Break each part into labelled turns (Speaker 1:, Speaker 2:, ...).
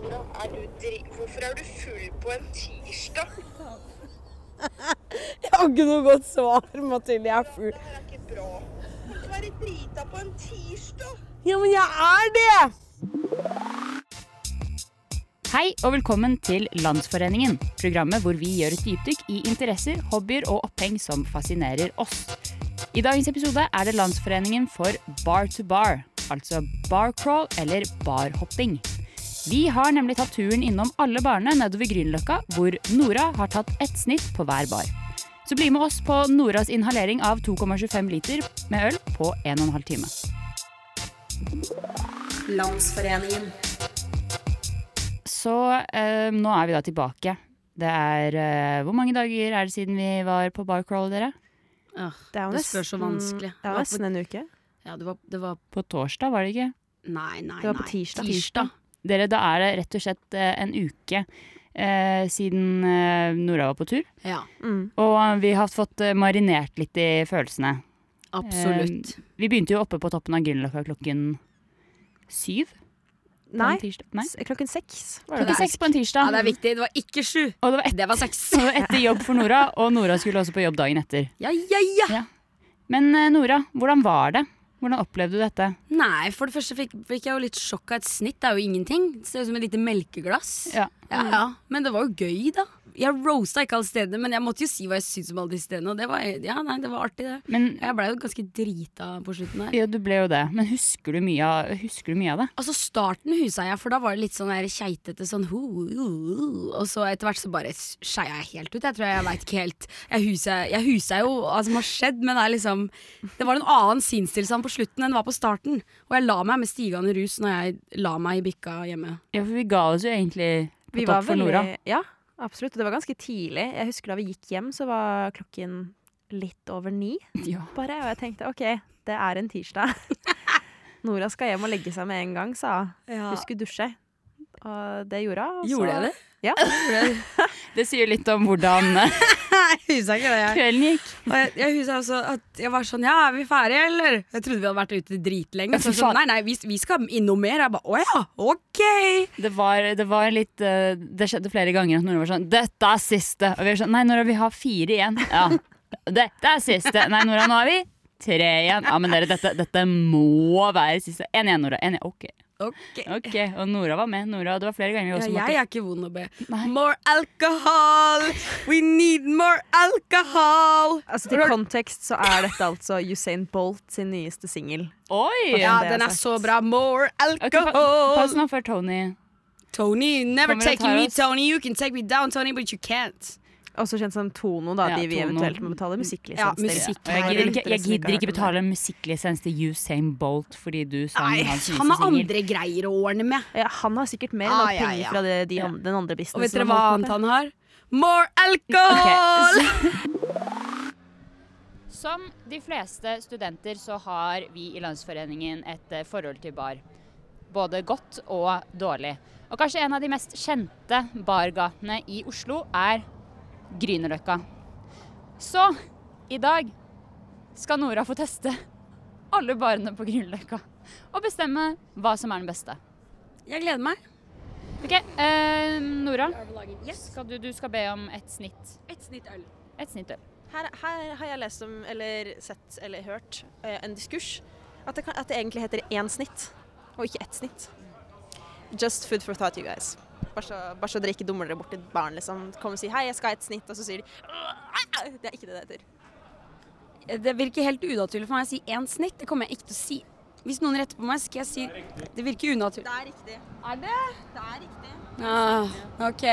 Speaker 1: er du dri... Hvorfor er du full på en tirsdag?
Speaker 2: Jeg har ikke noe godt svar, Mathilde. Jeg er full.
Speaker 1: Det her er ikke bra. Du kan være drita på en tirsdag.
Speaker 2: Ja, men jeg er det!
Speaker 3: Hei og velkommen til Landsforeningen, programmet hvor vi gjør et dypdykk i interesser, hobbyer og oppheng som fascinerer oss. I dagens episode er det Landsforeningen for Bar to Bar, altså bar crawl eller barhopping. Vi har nemlig tatt turen innom alle barene nedover Grünerløkka, hvor Nora har tatt ett snitt på hver bar. Så bli med oss på Noras inhalering av 2,25 liter med øl på 1 12 time.
Speaker 4: Landsforeningen.
Speaker 3: Så eh, nå er vi da tilbake. Det er eh, Hvor mange dager er det siden vi var på barcrawl, dere?
Speaker 4: Åh,
Speaker 2: Det er jo
Speaker 4: det spør så vanskelig.
Speaker 2: Det er jo nesten en uke.
Speaker 4: Ja, det var, det var
Speaker 3: På torsdag, var det ikke?
Speaker 4: Nei, nei,
Speaker 2: Det var på
Speaker 4: nei.
Speaker 2: tirsdag.
Speaker 3: Dere, da er det rett og slett eh, en uke eh, siden eh, Nora var på tur.
Speaker 4: Ja,
Speaker 2: Mm.
Speaker 3: Og vi har fått eh, marinert litt i følelsene.
Speaker 4: absolutt.
Speaker 2: Ehm,
Speaker 3: Vi begynte jo oppe på toppen av Grünerløkka klokken syv. på en
Speaker 2: Nei,
Speaker 3: tirsdag. Nei.
Speaker 2: s- klokken seks. var det
Speaker 3: Klokken
Speaker 2: det.
Speaker 3: seks på en
Speaker 4: ja,
Speaker 3: tirsdag.
Speaker 4: det er viktig. Det var ikke sju.
Speaker 3: og det var, et,
Speaker 4: Det var seks.
Speaker 3: det var etter jobb for Nora, og Nora skulle også på jobb dagen etter.
Speaker 4: Ja, ja, ja.
Speaker 3: Men eh, Nora, hvordan var det? Hvordan opplevde du dette?
Speaker 4: Nei, for det første fikk, fikk jeg jo litt sjokk av et snitt. Det er jo ingenting. Det ser ut som et lite melkeglass.
Speaker 3: Ja.
Speaker 4: ja, ja. Men det var jo gøy, da. Jeg roasta ikke alle stedene, men jeg måtte jo si hva jeg syntes om alle de stedene. Og det var, ja, nei, det var artig, det.
Speaker 3: Men
Speaker 4: Jeg blei jo ganske drita på slutten der.
Speaker 3: Ja, du ble jo det. Men husker du mye av, husker du mye av det?
Speaker 4: Altså Starten husa jeg, for da var det litt sånn der keitete sånn ho, ho, ho. Og så etter hvert så bare skeia jeg helt ut. Jeg tror jeg veit ikke helt Jeg husa, jeg husa jo hva som har skjedd, men det er liksom Det var en annen sinnstilstand på slutten enn det var på starten. Og jeg la meg med stigende rus når jeg la meg i bykka hjemme.
Speaker 3: Ja, for vi ga oss jo egentlig på
Speaker 2: Vi var
Speaker 3: topp for
Speaker 2: veldig
Speaker 3: Nora.
Speaker 2: Ja, absolutt. Og det var ganske tidlig. Jeg husker da vi gikk hjem, så var klokken litt over ni
Speaker 3: Ja.
Speaker 2: bare. Og jeg tenkte OK, det er en tirsdag. Nora skal hjem og legge seg med en gang, sa hun. Du skulle dusje. Og det gjorde hun. og så-
Speaker 4: Gjorde jeg det?
Speaker 2: Ja.
Speaker 3: Det sier litt om hvordan eh,
Speaker 4: Nei, jeg husa ikke det, jeg.
Speaker 3: kvelden gikk.
Speaker 4: Og jeg, jeg husa også at jeg var sånn Ja, er vi ferdige, eller? Jeg trodde vi hadde vært ute dritlenge. Så jeg sånn, nei, nei, vi, vi skal innom mer. Jeg bare Å ja, OK.
Speaker 3: Det var, det var litt eh, Det skjedde flere ganger at Nora var sånn 'Dette er siste!' Og vi var sånn 'Nei, Nora, vi har fire igjen'. Ja. 'Dette er siste'. Nei, Nora, nå har vi tre igjen. Ja, men dere, dette, dette må være siste. En igjen, Nora. En igjen. Ok.
Speaker 4: Ok.
Speaker 3: ok. Og Nora var med. Nora, det var flere ganger vi
Speaker 4: Ja,
Speaker 3: også
Speaker 4: jeg
Speaker 3: måtte
Speaker 4: er ikke vond å be.
Speaker 3: Nei.
Speaker 4: More alcohol! We need more alcohol!
Speaker 2: Altså Til kontekst så er dette altså Usain Bolt sin nyeste singel.
Speaker 3: Oi!
Speaker 4: Ja,
Speaker 2: det er
Speaker 4: den er
Speaker 2: sant.
Speaker 4: så bra. More
Speaker 3: Ok, pa- Pass
Speaker 4: alcohol!
Speaker 3: nå før Tony
Speaker 4: Tony, never
Speaker 3: Kommer og
Speaker 4: taking
Speaker 3: tar
Speaker 4: me,
Speaker 3: oss.
Speaker 4: Tony. You can take me down, Tony, but you can't.
Speaker 2: Også kjent som Tono, da,
Speaker 3: Ja,
Speaker 2: de vi
Speaker 3: Tono.
Speaker 2: eventuelt må betale musikklisens
Speaker 4: Ja,
Speaker 2: til.
Speaker 4: musikk-
Speaker 3: Og jeg
Speaker 4: Nei,
Speaker 3: gidder
Speaker 2: det er
Speaker 3: ikke,
Speaker 2: lettere
Speaker 3: jeg
Speaker 2: som ikke
Speaker 3: gidder
Speaker 2: har
Speaker 3: ikke
Speaker 2: hørt om
Speaker 3: betale musikklisens til Usain Bolt fordi du sang
Speaker 4: Nei,
Speaker 3: hans nyeste
Speaker 4: han har
Speaker 3: singel.
Speaker 4: andre greier å ordne med.
Speaker 2: Ja, han har sikkert mer enn
Speaker 4: Ah,
Speaker 2: nok
Speaker 4: ja,
Speaker 2: penger
Speaker 4: ja.
Speaker 2: fra det, de, an- den andre businessen.
Speaker 4: Og vet dere
Speaker 2: han
Speaker 4: hva
Speaker 2: holdt på
Speaker 4: annet
Speaker 2: med.
Speaker 4: han har? More alcohol!
Speaker 3: Som de fleste studenter så har vi i Landsforeningen et eh, forhold til bar. Både godt og dårlig. Og kanskje en av de mest kjente bargatene i Oslo er Grünerløkka. Så i dag skal Nora få teste alle barene på Grünerløkka og bestemme hva som er den beste.
Speaker 4: Jeg gleder meg.
Speaker 3: Ok, eh, Nora. Skal du, du skal be om et snitt.
Speaker 4: Et snitt øl.
Speaker 3: Et snitt øl.
Speaker 2: Her, her har jeg lest om, eller sett, eller hørt eh, en diskurs. At det, kan, at det egentlig heter én snitt, og ikke ett snitt. Just food for thought, you guys. Bare så, bare så dere ikke dummer dere bort til et barn. Liksom. Kom og si 'hei, jeg skal ha ett snitt', og så sier de «Åh, Det er ikke det det heter.
Speaker 4: Det virker helt unaturlig for meg å si én snitt. Det kommer jeg ikke til å si. Hvis noen retter på meg, skal jeg si Det virker unaturlig.
Speaker 2: Det er riktig.
Speaker 3: Er det?
Speaker 2: Det er riktig.
Speaker 4: Ah, ok.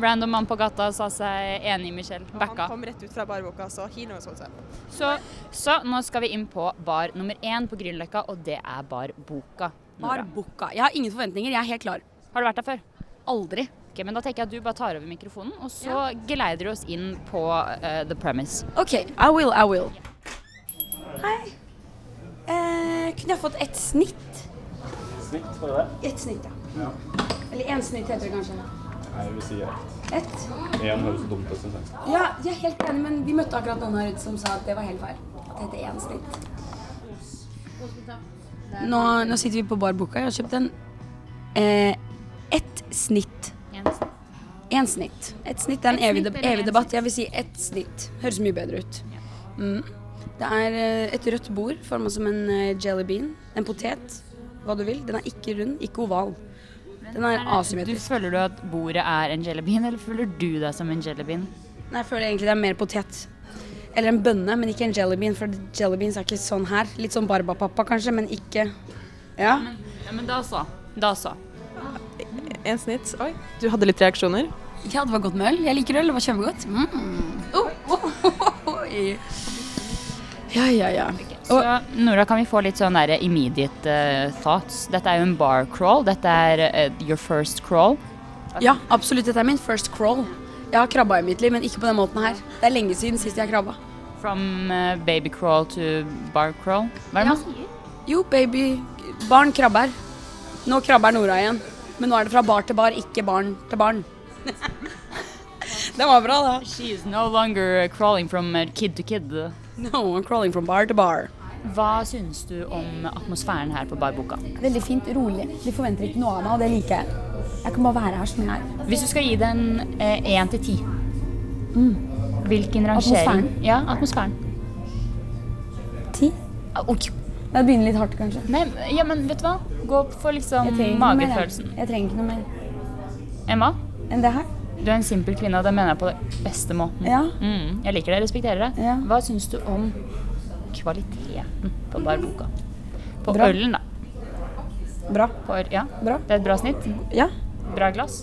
Speaker 3: Random mann på gata sa seg enig i Michelle. Backa.
Speaker 2: kom rett ut fra barboka, så he knows what's up.
Speaker 3: Så, så nå skal vi inn på bar nummer én på Grünerløkka, og det er Bar Boka.
Speaker 4: Har
Speaker 3: Nora.
Speaker 4: booka. Jeg har ingen forventninger. Jeg er helt klar.
Speaker 3: Har du vært der før?
Speaker 4: Aldri.
Speaker 3: Ok, men Da tenker jeg at du bare tar over mikrofonen, og så geleider du oss inn på eh, the premise.
Speaker 4: OK, I will, I will. Hei. Eh, kunne jeg fått ett snitt?
Speaker 5: Snitt, var det det?
Speaker 4: Ett snitt, ja. Eller én snitt heter det kanskje.
Speaker 5: Nei, jeg vil si ett.
Speaker 4: Ett?
Speaker 5: Én høres dumt ut, syns jeg.
Speaker 4: Ja, jeg er helt enig, men vi møtte akkurat noen her ute som sa at det var helt feil. At det heter én snitt. Nå, nå sitter vi på Bar Boka. Jeg har kjøpt en eh, snitt. Én snitt. Et snitt er en
Speaker 3: Et
Speaker 4: evig,
Speaker 3: snitt
Speaker 4: de-
Speaker 3: eller
Speaker 4: evig
Speaker 3: en
Speaker 4: debatt.
Speaker 3: snitt?
Speaker 4: Jeg vil si ett snitt. Høres mye bedre ut. Mm. Det er eh, et rødt bord forma som en eh, jelly bean. En potet. Hva du vil. Den er ikke rund, ikke oval. Den
Speaker 3: Eh,
Speaker 4: er
Speaker 3: Du,
Speaker 4: Eh, asymmetrisk.
Speaker 3: føler du at bordet er en jellybean, eller føler du deg som en jellybean?
Speaker 4: Nei, jeg føler egentlig det er mer potet. Eller en bønne, men ikke en jelly bean, for jelly beans er ikke sånn her. Litt sånn Barbapapa kanskje, men ikke Ja.
Speaker 3: Ja, men da så. Da så.
Speaker 2: En snitt. Oi, du hadde litt reaksjoner.
Speaker 4: Ja, det var godt med øl. Jeg liker øl. Det var kjempegodt. Oh, oh, oh, oh, oi. Ja, ja, ja.
Speaker 3: Så Nora, kan vi få litt sånn der immediate eh, thoughts? Dette er jo en bar crawl. Dette er eh, your first crawl.
Speaker 4: Ja, absolutt. Dette er min first crawl. Jeg har krabba i mitt liv, men ikke på den måten her. Det er lenge siden sist jeg krabba.
Speaker 3: From eh, baby crawl to bar crawl. Hva er det man sier?
Speaker 4: Jo, baby, barn krabber. Nå krabber Nora igjen. Men nå er det fra bar til bar, ikke barn til barn. den var bra, da.
Speaker 3: She is no longer crawling from eh, kid to kid.
Speaker 4: No, I'm crawling from bar to bar.
Speaker 3: Hva syns du om atmosfæren her på Barboka?
Speaker 6: Veldig fint, rolig. De forventer ikke noe av meg, og det liker jeg. Jeg kan bare være her som jeg er.
Speaker 3: Hvis du skal gi den én til ti, hvilken rangering
Speaker 6: Mm. Atmosfæren?
Speaker 3: Ja, atmosfæren.
Speaker 6: Ti?
Speaker 3: Ah, ok.
Speaker 6: Jeg begynner litt hardt, kanskje.
Speaker 3: Nei, ja, men vet du hva? Gå for liksom
Speaker 6: Jeg trenger ikke noe mer, jeg.
Speaker 3: magefølelsen.
Speaker 6: Jeg trenger ikke noe mer
Speaker 3: Emma,
Speaker 6: enn det her.
Speaker 3: du er en simpel kvinne, og det mener jeg på den beste måten.
Speaker 6: Ja.
Speaker 3: Mm, jeg liker det, jeg respekterer det.
Speaker 6: Ja.
Speaker 3: Hva syns du om kvaliteten på barboka? På
Speaker 6: Bra.
Speaker 3: ølen, da.
Speaker 6: Bra.
Speaker 3: På, øl- ja.
Speaker 6: Bra.
Speaker 3: Det er et bra snitt.
Speaker 6: Ja.
Speaker 3: Bra glass.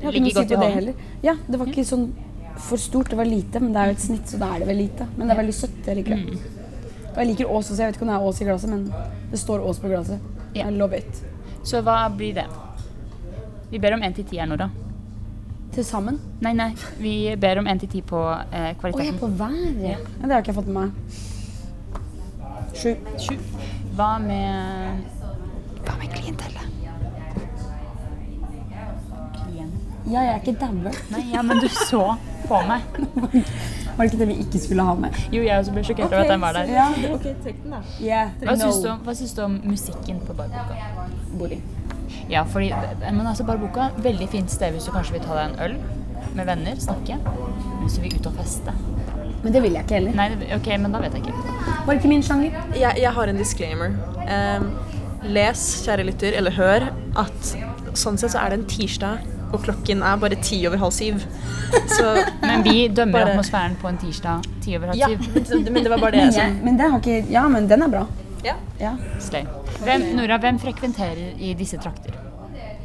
Speaker 6: Jeg har
Speaker 3: Ligger
Speaker 6: ikke noe å si
Speaker 3: godt i
Speaker 6: på det
Speaker 3: hånden.
Speaker 6: heller. Ja, det var ikke sånn for stort, det var lite, men det er jo et snitt, så da er det vel lite. Men det er veldig søtt, jeg liker det.
Speaker 3: Mm.
Speaker 6: Og jeg liker Ås også, jeg vet ikke om det er Ås i glasset, men det står Ås på glasset.
Speaker 3: Ja.
Speaker 6: I love it.
Speaker 3: Så hva blir det? Vi ber om én til ti her, Nora.
Speaker 6: Til sammen.
Speaker 3: Nei, nei. Vi ber om én til ti på eh,
Speaker 6: Å, jeg
Speaker 3: kvaliteten.
Speaker 6: er på været. Ja.
Speaker 4: Ja, det har ikke jeg fått med meg. Sju.
Speaker 3: Sju. Hva med Hva med klientellet?
Speaker 6: ja, jeg er ikke dauer.
Speaker 3: Nei, ja, men du så på meg.
Speaker 6: Var det ikke det vi ikke skulle ha med?
Speaker 3: Jo, jeg også ble sjokkert over at den var der.
Speaker 6: Ja.
Speaker 2: OK, trekk den, da.
Speaker 6: Yeah.
Speaker 3: Hva syns, du om, hva syns du om musikken på Barboka?
Speaker 6: Bolig.
Speaker 3: Ja, fordi Men altså, Barboka veldig fint sted hvis du kanskje vil ta deg en øl med venner, snakke. Men Hvis du vil ut og feste.
Speaker 6: Men det vil jeg ikke heller.
Speaker 3: Nei, det- OK, men da vet jeg ikke.
Speaker 6: Var ikke min sjanger.
Speaker 2: Jeg, jeg har en disclaimer. Em, les, kjære lytter, eller hør, at sånn sett så er det en tirsdag, og klokken er bare ti over halv syv. Så
Speaker 3: Men vi dømmer
Speaker 2: Bare-
Speaker 3: atmosfæren på en tirsdag ti over
Speaker 2: ja,
Speaker 3: halv syv.
Speaker 2: men det- men det var bare det som
Speaker 6: Men den har ikke Ja, men den er bra.
Speaker 2: Ja.
Speaker 3: Slay. Hvem, Nora, hvem frekventerer i disse trakter?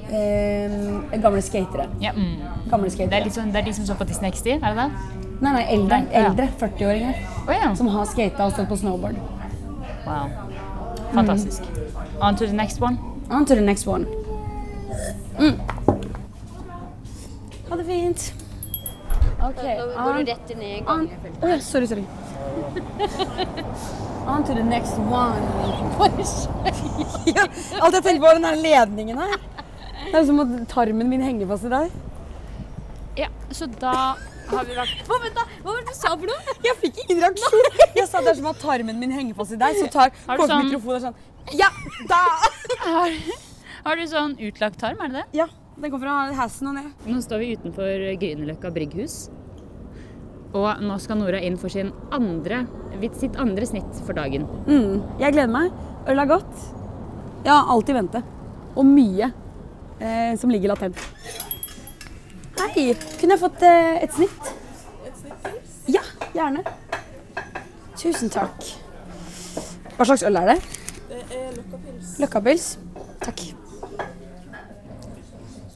Speaker 6: Eh, gamle skatere.
Speaker 3: Ja, mm.
Speaker 6: Gamle
Speaker 3: det, er
Speaker 6: skatere.
Speaker 3: litt sånn, det er de som så på Disney XD, er det det?
Speaker 6: Nei, nei, eldre.
Speaker 3: Nei, ja.
Speaker 6: eldre 40-åringer
Speaker 3: Å ja.
Speaker 6: som har skata og stått på snowboard.
Speaker 3: Wow. Fantastisk.
Speaker 2: Mm.
Speaker 3: On to the next one.
Speaker 6: On to the next one. Mm. Ha det fint. OK. Går du rett ned i gangen? Å ja, sorry, sorry. On to the next one. ja, alt jeg tenkte på, var den der ledningen her. Det er som at tarmen min henger fast i deg.
Speaker 3: Ja, så da har vi vært
Speaker 6: Hva, vent da, Hva var det du sa for noe? Jeg fikk ingen reaksjon. Jeg sa det er som at tarmen min henger fast i deg, så tar
Speaker 3: Har du
Speaker 6: kommer
Speaker 3: sånn-
Speaker 6: mikrofonen og er sånn Ja, da!
Speaker 3: har, har du sånn utlagt tarm, er det det?
Speaker 6: Ja, den kom fra hassen og ned.
Speaker 3: Nå står vi utenfor Grünerløkka brygghus. Og nå skal Nora inn for sin andre, sitt andre snitt for dagen.
Speaker 6: Mm, jeg gleder meg. Øl er godt. Jeg har alltid ventet. Og mye eh, som ligger latent. Hei, kunne jeg fått eh, et snitt? Ja, gjerne.
Speaker 4: Tusen takk. Hva slags øl er det? Løkkapils. Takk.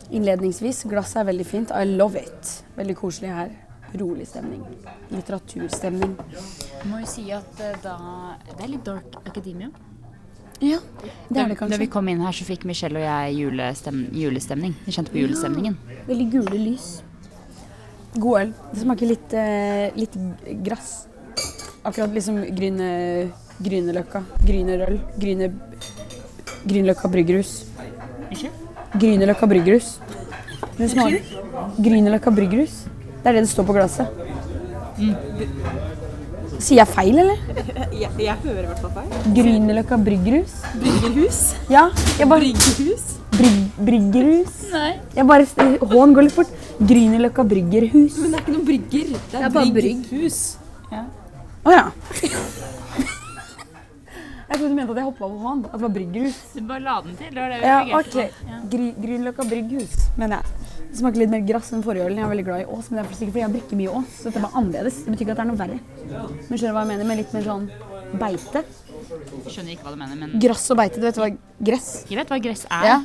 Speaker 4: Innledningsvis, glasset er veldig fint. I love it. Veldig koselig her. Rolig stemning. Litteraturstemning.
Speaker 3: Må jo si at eh, da Det er litt dark academia.
Speaker 4: Ja, det er det
Speaker 3: Da vi
Speaker 4: kanskje.
Speaker 3: kom inn her, så fikk Michelle og jeg julestem, julestemning. Vi kjente på julestemningen.
Speaker 6: Veldig gule lys.
Speaker 4: God øl. Det smaker litt, eh, litt gress. Akkurat liksom gryne, Grünerløkka. Grünerøl. Gryne... Grünerløkka bryggerhus. Grünerløkka bryggerhus. Den smaker Grünerløkka bryggerhus. Det er det det står på glasset. Sier jeg feil, eller?
Speaker 2: Mm. Jeg, jeg hører i hvert fall feil.
Speaker 4: Grünerløkka bryggerhus. Bryggerhus? Ja. Jeg bare... Bryggerhus?
Speaker 6: Bryg- Bryggerhus.
Speaker 3: Nei.
Speaker 6: Jeg bare, H-en går litt fort. Grünerløkka bryggerhus.
Speaker 3: Men det er ikke noen brygger. Det er,
Speaker 6: bare
Speaker 3: brygghus.
Speaker 6: Å ja. Jeg trodde du mente at jeg hoppa over H-en. At det var bryggerhus.
Speaker 3: Du bare la den til. Det var det vi
Speaker 6: Ja, ok.
Speaker 3: reagerte på. Ja.
Speaker 6: Gry- Grünerløkka brygghus, mener jeg. Det smaker litt mer grass enn forrige ølen. Jeg er veldig glad i Ås, men det er sikkert fordi jeg drikker mye Ås. Så det var annerledes. Det betyr ikke at det er noe verre. Men skjønner du hva jeg mener med litt mer sånn beite?
Speaker 3: Skjønner ikke hva du mener, men
Speaker 6: Grass og beite, du vet hva gress
Speaker 3: jeg vet hva gress er.
Speaker 6: Ja.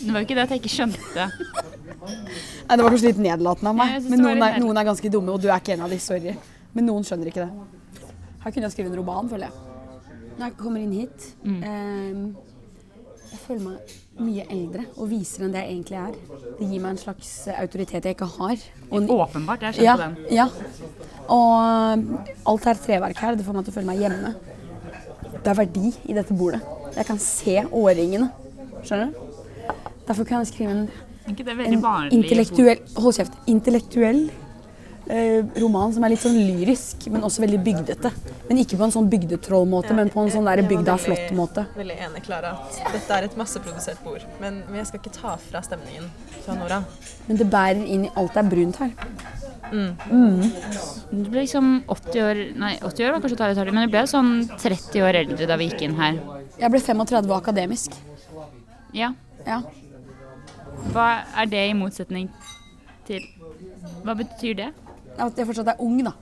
Speaker 3: Det var jo ikke det at jeg ikke skjønte.
Speaker 6: Nei, det var kanskje litt nedlatende av
Speaker 3: Ja, jeg
Speaker 6: meg.
Speaker 3: synes
Speaker 6: Men
Speaker 3: det var
Speaker 6: noen
Speaker 3: litt
Speaker 6: er, noen er ganske dumme, og du er ikke en av de, sorry. Men noen skjønner ikke det. Her kunne jeg skrevet en roman, føler jeg. Når jeg kommer inn hit,
Speaker 3: Mm.
Speaker 6: ehm, jeg føler meg mye eldre og visere enn det jeg egentlig er. Det gir meg en slags eh, autoritet jeg ikke har. Og en
Speaker 3: Åpenbart. Jeg skjønte
Speaker 6: ja,
Speaker 3: den.
Speaker 6: ja. Og ehm, alt er treverk her. Det får meg til å føle meg hjemme. Det er verdi i dette bordet. Jeg kan se årringene. Skjønner du? Derfor kan jeg skrive en
Speaker 3: Er ikke det veldig
Speaker 6: en
Speaker 3: vanlig?
Speaker 6: intellektuell, hold kjeft, intellektuell eh, roman som er litt sånn lyrisk, men også veldig bygdete. Men ikke på en sånn bygdetrollmåte, men på en sånn der
Speaker 2: Jeg var
Speaker 6: bygda er
Speaker 2: veldig-
Speaker 6: flott-måte.
Speaker 2: Veldig enig, Klara. at Dette er et masseprodusert bord. Men, men jeg skal ikke ta fra stemningen fra Nora.
Speaker 6: Men det bærer inn i alt det er brunt her.
Speaker 3: Du ble liksom 80 år Nei, 80 år var kanskje å ta litt hardt i, men du ble jo sånn 30 år eldre da vi gikk inn her.
Speaker 6: Jeg ble 35 og akademisk.
Speaker 3: Ja.
Speaker 6: Ja.
Speaker 3: Hva er det i motsetning til Hva betyr det?
Speaker 6: At jeg fortsatt er ung, da.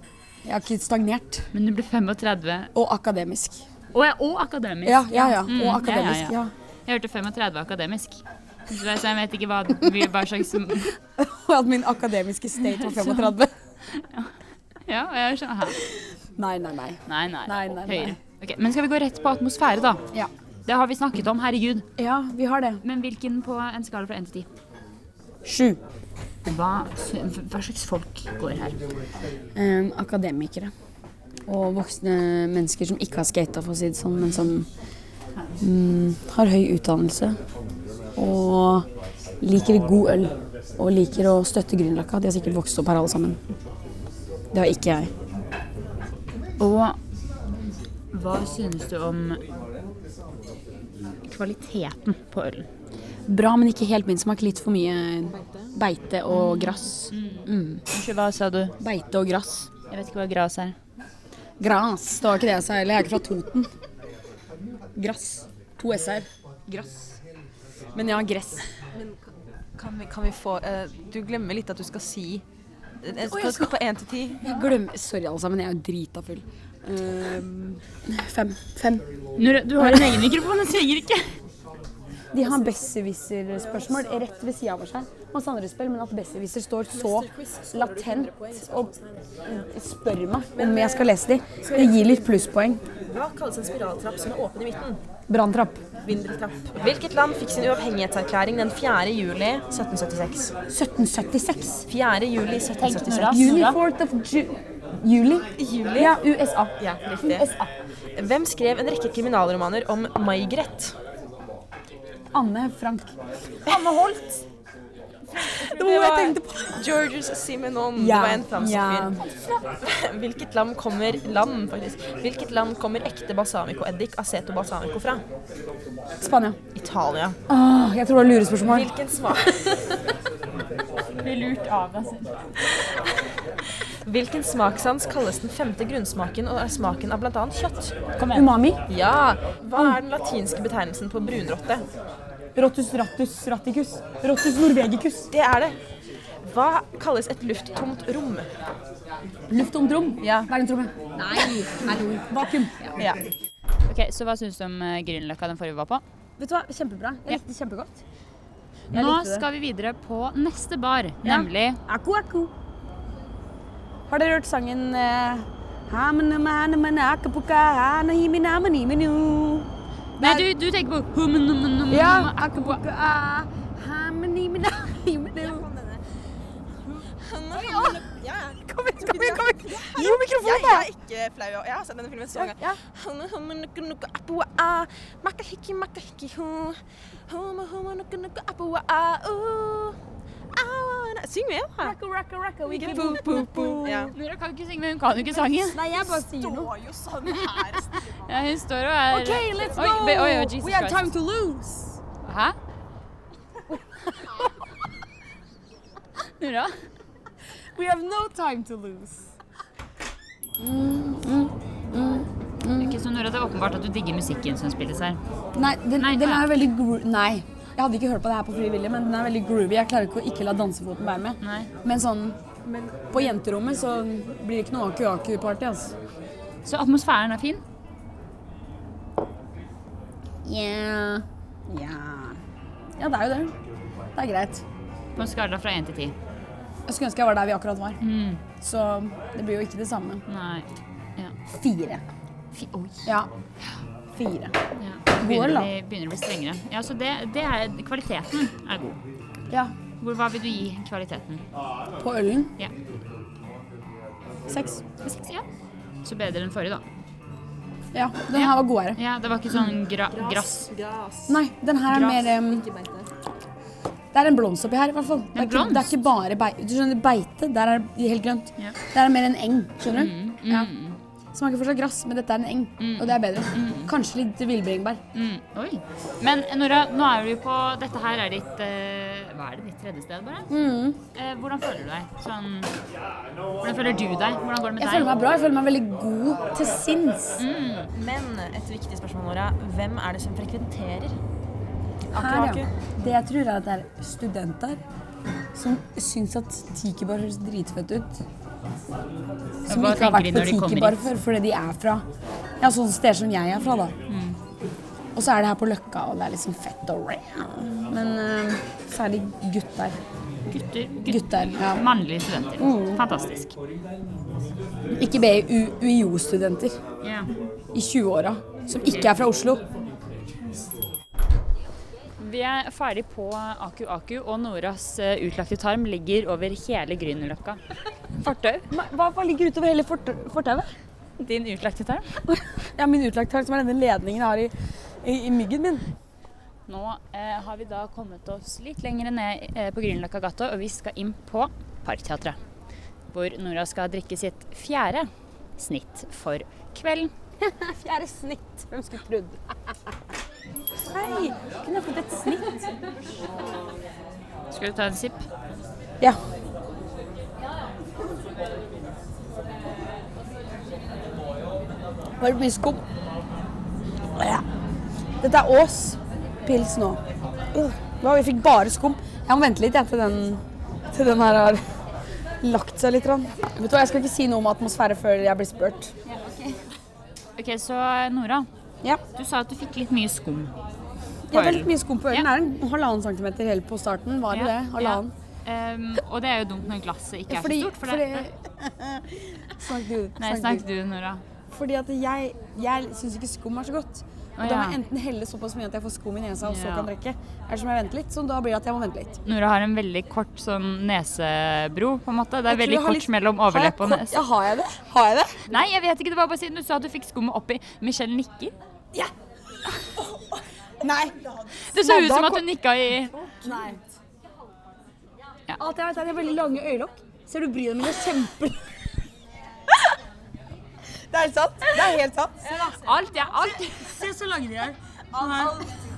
Speaker 6: Jeg har ikke stagnert.
Speaker 3: Men du ble 35
Speaker 6: Og akademisk.
Speaker 3: Og, og akademisk.
Speaker 6: Ja, ja, ja.
Speaker 3: Mm,
Speaker 6: Og akademisk, ja.
Speaker 3: Jeg hørte 35 akademisk. Så jeg så jeg vet ikke hva, hva slags
Speaker 6: Og at min akademiske state var 35.
Speaker 3: Ja, og jeg skjønner Hæ?
Speaker 6: Nei, nei, nei.
Speaker 3: Nei, nei.
Speaker 6: Nei, nei, nei.
Speaker 3: Høyere. Ok, men skal vi gå rett på atmosfære, da?
Speaker 6: Ja.
Speaker 3: Det har vi snakket om, herregud.
Speaker 6: Ja, vi har det.
Speaker 3: Men hvilken på en skala fra 1 til 10?
Speaker 6: Sju.
Speaker 3: Hva, hva slags folk går her?
Speaker 6: eh, akademikere og voksne mennesker som ikke har skata, for å si det sånn, men som mm, har høy utdannelse og liker god øl og liker å støtte Grünerløkka. De har sikkert vokst opp her alle sammen. Det har ikke jeg.
Speaker 3: Og hva synes du om kvaliteten på ølen?
Speaker 6: Bra, men ikke helt min smak. Litt for mye beite og grass.
Speaker 3: Unnskyld, hva sa du?
Speaker 6: Beite og grass.
Speaker 3: Jeg vet ikke hva gras er.
Speaker 6: Gras. Det var ikke det jeg sa heller. Jeg er ikke fra Toten. Grass. To s-er. Grass. Men ja, gress.
Speaker 2: Kan vi, kan vi få eh, Du glemmer litt at du skal si jeg skal, skal på 1 til 10.
Speaker 6: Jeg glemmer Sorry, alle sammen. Jeg er jo drita full. Ehm, fem. fem.
Speaker 3: Nora, du har en egen mikrofon, den trenger ikke.
Speaker 6: De har besserwisser-spørsmål rett ved sida av oss her. Masse andre spill, men at besserwisser står så latent og spør meg om jeg skal lese de, det gir litt plusspoeng.
Speaker 2: Hva kalles en spiraltrapp som er åpen i midten?
Speaker 6: Branntrapp.
Speaker 2: Vindeltrapp. Hvilket land fikk sin uavhengighetserklæring den 4. juli 1776?
Speaker 6: 1776.
Speaker 2: 4. juli 1776.
Speaker 6: Juni 4th of Ju... Juli?
Speaker 2: Juli?
Speaker 6: Ja, USA.
Speaker 2: Ja, riktig.
Speaker 6: USA.
Speaker 2: Hvem skrev en rekke kriminalromaner om Maigret?
Speaker 6: Anne Frank.
Speaker 3: Anne Holt.
Speaker 6: Det var jeg tenkte på.
Speaker 2: Georges Simenon.
Speaker 6: Ja,
Speaker 2: Det var en fransk
Speaker 6: ja.
Speaker 2: fyr. Hvilket land kommer land, faktisk. Hvilket land kommer ekte balsamicoeddik aceto balsamico fra?
Speaker 6: Spania.
Speaker 2: Italia.
Speaker 6: Åh, jeg tror det var lurespørsmål.
Speaker 2: Hvilken smak
Speaker 3: Blir lurt av deg selv.
Speaker 2: Hvilken smakssans kalles den femte grunnsmaken og er smaken av bl.a. kjøtt?
Speaker 6: Umami.
Speaker 2: Ja! Hva er den latinske betegnelsen på brunrotte?
Speaker 6: Rotus rattus raticus. Rotus norvegicus.
Speaker 2: Det er det. Hva kalles et lufttomt rom?
Speaker 6: Luft om trom?
Speaker 2: Ja.
Speaker 6: Verdensrommet? Nei, hallo. Vakuum.
Speaker 2: Ja.
Speaker 3: Ok, Så hva syns du om eh, Grünerløkka, den forrige vi var på?
Speaker 6: Vet du hva, kjempebra. Jeg likte det kjempegodt.
Speaker 3: Nå
Speaker 6: likte det.
Speaker 3: skal vi videre på neste bar, nemlig
Speaker 6: Akko, akko. Har dere hørt sangen eh, Hamanamanaman, akapuka, hanahimanamaniminu.
Speaker 3: Nei, du, du tenker på Humnumnum-
Speaker 6: Ja,
Speaker 3: Akwa-
Speaker 6: akapuka, ah, hamaniminamininu. Kom igjen, kom igjen, kom igjen. Gi henne
Speaker 2: Jeg,
Speaker 6: mikrofonen,
Speaker 2: jeg
Speaker 6: da.
Speaker 2: er ikke flau. Jeg har sett denne filmen så mange
Speaker 6: Ja.
Speaker 2: ganger. Syng med, da!
Speaker 6: Rocka, rocka, rocka, we can
Speaker 2: Boop, boop, boop. Ja.
Speaker 3: Nora kan ikke synge, men hun kan jo ikke sangen.
Speaker 6: Nei, jeg bare sier noe.
Speaker 2: jo sånn her.
Speaker 3: Ja, hun står og er
Speaker 6: Okay, let's
Speaker 3: Oi,
Speaker 6: go.
Speaker 3: be- oi, oi, Jesus
Speaker 6: We have
Speaker 3: Christ.
Speaker 6: time to lose.
Speaker 3: Hæ? Hurra.
Speaker 6: We have no time to lose.
Speaker 3: Ok, så Nora, det er åpenbart at du digger musikken som spilles her.
Speaker 6: Nei, den,
Speaker 3: Nei,
Speaker 6: den
Speaker 3: nei.
Speaker 6: er jo veldig gro... Nei. Jeg hadde ikke hørt på det her på frivillig, men den er veldig groovy. Jeg klarer ikke å ikke la dansefoten være med.
Speaker 3: Nei.
Speaker 6: Men sånn på jenterommet så blir det ikke noe aku-aku-party, altså.
Speaker 3: Så atmosfæren er fin.
Speaker 6: Yeah. Yeah. Ja, det er jo det. Det er greit.
Speaker 3: På en skala fra 1 til 10.
Speaker 6: Jeg skulle ønske jeg var der vi akkurat var.
Speaker 3: Mm.
Speaker 6: Så det blir jo ikke det samme.
Speaker 3: Nei.
Speaker 6: Fire.
Speaker 3: Fi, oi.
Speaker 6: Ja. Fire.
Speaker 3: Ja. det Begynner,
Speaker 6: Går,
Speaker 3: å bli, begynner å bli strengere. Ja, så det, det er, kvaliteten er god.
Speaker 6: Ja.
Speaker 3: Hvor, hva vil du gi kvaliteten?
Speaker 6: På ølen.
Speaker 3: Ja.
Speaker 6: Seks.
Speaker 3: Seks, ja. Så bedre enn forrige, da.
Speaker 6: Ja, den her var godere.
Speaker 3: Ja, Det var ikke sånn gra grass.
Speaker 6: Nei, den her er
Speaker 3: Gras.
Speaker 6: mer em, Det er en blomst oppi her, i hvert fall. Det er,
Speaker 3: En
Speaker 6: ikke, det er
Speaker 3: blomst?
Speaker 6: ikke bare beite. Du skjønner, beite, der er det helt grønt.
Speaker 3: Ja. Mm,
Speaker 6: Der er det mer en eng, skjønner du? Ja. Smaker fortsatt grass, men dette er en eng, og det er bedre. Kanskje litt villbringebær.
Speaker 3: Mm, oi. Men Nora, nå er du jo på Dette her er ditt eh, Hva er det? Ditt tredje sted, bare? Eh, hvordan føler du deg? Sånn Hvordan føler du deg? Hvordan går det med
Speaker 6: Jeg
Speaker 3: deg?
Speaker 6: føler meg bra. Jeg føler meg veldig god til sinns.
Speaker 2: Men et viktig spørsmål, Nora. Hvem er det som frekventerer?
Speaker 6: Her, ja. Det jeg tror, er at det er studenter som syns at Tiki-bar høres dritfett ut. Som
Speaker 3: hva
Speaker 6: ikke
Speaker 3: tenker
Speaker 6: har
Speaker 3: de
Speaker 6: vært på
Speaker 3: når de kommer
Speaker 6: Tiki-bar
Speaker 3: hit?
Speaker 6: før, fordi de er fra ja, sånne steder som jeg er fra, da.
Speaker 3: Mm.
Speaker 6: Og så er det her på Løkka, og det er liksom fett og rare. Men eh, så er det gutter.
Speaker 3: Gutter, gutter,
Speaker 6: Gutter, ja.
Speaker 3: Mannlige studenter.
Speaker 6: Mm.
Speaker 3: Fantastisk.
Speaker 6: Ikke BU-UiO-studenter
Speaker 3: Ja.
Speaker 6: i 20-åra som ikke er fra Oslo.
Speaker 3: Vi er ferdig på Aku Aku, og Noras eh, utlagte tarm ligger over hele Grünerløkka. Fortau.
Speaker 6: Hva, ligger utover hele fortauet?
Speaker 3: Din utlagte tarm.
Speaker 6: Ja, min utlagtharm, som er denne ledningen jeg har i, i, i myggen min.
Speaker 3: Nå eh, har vi da kommet oss litt lenger ned eh, på Grünerløkka gata, og vi skal inn på Parkteatret. Hvor Nora skal drikke sitt fjerde snitt for kvelden.
Speaker 6: Fjerde snitt. Hvem skulle trodd? Hei! Kunne jeg fått et snitt?
Speaker 3: Skal du ta en sipp?
Speaker 6: Ja. Var det mye skum? Ja. Dette er Ås pils nå. Øh, hva, Vi fikk bare skum. Jeg må vente litt jeg, til, den, til den her har lagt seg litt. grann. Vet du hva, Jeg skal ikke si noe om atmosfære før jeg blir spurt.
Speaker 3: Ok, så eh, Nora,
Speaker 6: Ja.
Speaker 3: du sa at du fikk litt mye skum.
Speaker 6: Jeg har
Speaker 3: På
Speaker 6: veldig mye skum på ølen.
Speaker 3: Ja.
Speaker 6: Det er en halvannen centimeter helt på starten. Var det det? Halvannen.
Speaker 3: Ehm, og det er jo dumt når glasset ikke er
Speaker 6: Fordi,
Speaker 3: så stort. For
Speaker 6: fordi
Speaker 3: det.
Speaker 6: Snakk du.
Speaker 3: Nei,
Speaker 6: snakk
Speaker 3: snakk du, Nora.
Speaker 6: du. Fordi at jeg, jeg syns ikke skum er så godt. Og
Speaker 3: Å,
Speaker 6: Da
Speaker 3: ja.
Speaker 6: må jeg enten helle såpass mye at jeg får skum i nesa og så
Speaker 3: Ja.
Speaker 6: kan drikke. Eller så må jeg vente litt. Så da blir det at jeg må vente litt.
Speaker 3: Nora har en veldig kort sånn nesebro, på en måte. Det er
Speaker 6: Jeg tror
Speaker 3: veldig
Speaker 6: jeg har
Speaker 3: kort
Speaker 6: litt-
Speaker 3: mellom
Speaker 6: Har jeg
Speaker 3: overlepp og
Speaker 6: kort-
Speaker 3: nes.
Speaker 6: Ja, har jeg det? Har jeg det?
Speaker 3: Nei, jeg vet ikke. Det var bare siden du sa at du fikk skummet oppi. Michelle nikker.
Speaker 6: Nei.
Speaker 3: Det så
Speaker 6: Nei,
Speaker 3: ut
Speaker 6: da
Speaker 3: som at
Speaker 6: kom-
Speaker 3: hun nikka i
Speaker 6: Nei.
Speaker 3: Ja.
Speaker 6: Alt jeg vet, er at jeg har veldig lange øyelokk. Ser du brynene mine er kjempe... Det er helt sant. Det er helt sant.
Speaker 3: Alt, ja. Alt.
Speaker 6: Se så lange de er.
Speaker 2: Av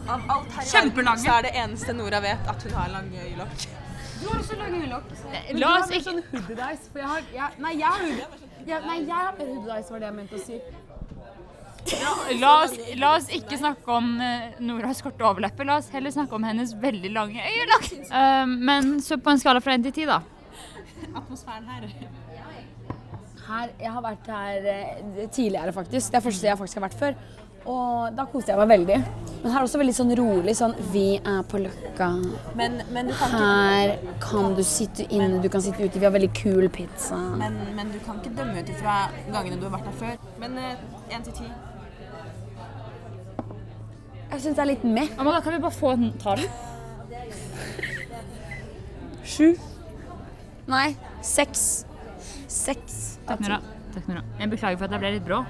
Speaker 2: alt her i
Speaker 3: Kjempelange.
Speaker 2: verden, Så er det eneste Nora vet, at hun har eh, lange øyelokk.
Speaker 6: Du har også lange øyelokk. Men
Speaker 3: La
Speaker 6: du har
Speaker 3: oss
Speaker 6: mer
Speaker 3: ikke
Speaker 6: sånn hooded eyes, for jeg har jeg, Nei, jeg har hooded, jeg, nei, jeg har mer hooded eyes, var det jeg mente å si.
Speaker 3: La oss, la oss ikke snakke om eh, Noras korte overleppe. La oss heller snakke om hennes veldig lange øyelokk. Ehm, men så på en skala fra 1 til 10, da.
Speaker 6: Her, jeg har vært her eh, tidligere, faktisk. Det er første jeg faktisk har vært før. Og da koste jeg meg veldig. Men her er også veldig sånn rolig sånn Vi er på Løkka.
Speaker 2: Men, men, du kan ikke,
Speaker 6: Her kan du sitte inne, du kan sitte ute. Vi har veldig kul pizza.
Speaker 2: men, men du kan ikke dømme ut ifra gangene du har vært her før. Men én til ti.
Speaker 6: Jeg syns det er litt meh.
Speaker 3: Amanda, kan vi bare få den tall?
Speaker 6: Sju. Nei, seks. Seks.
Speaker 3: Takk, Nora. Takk, Nora. Jeg beklager for at jeg ble litt brå.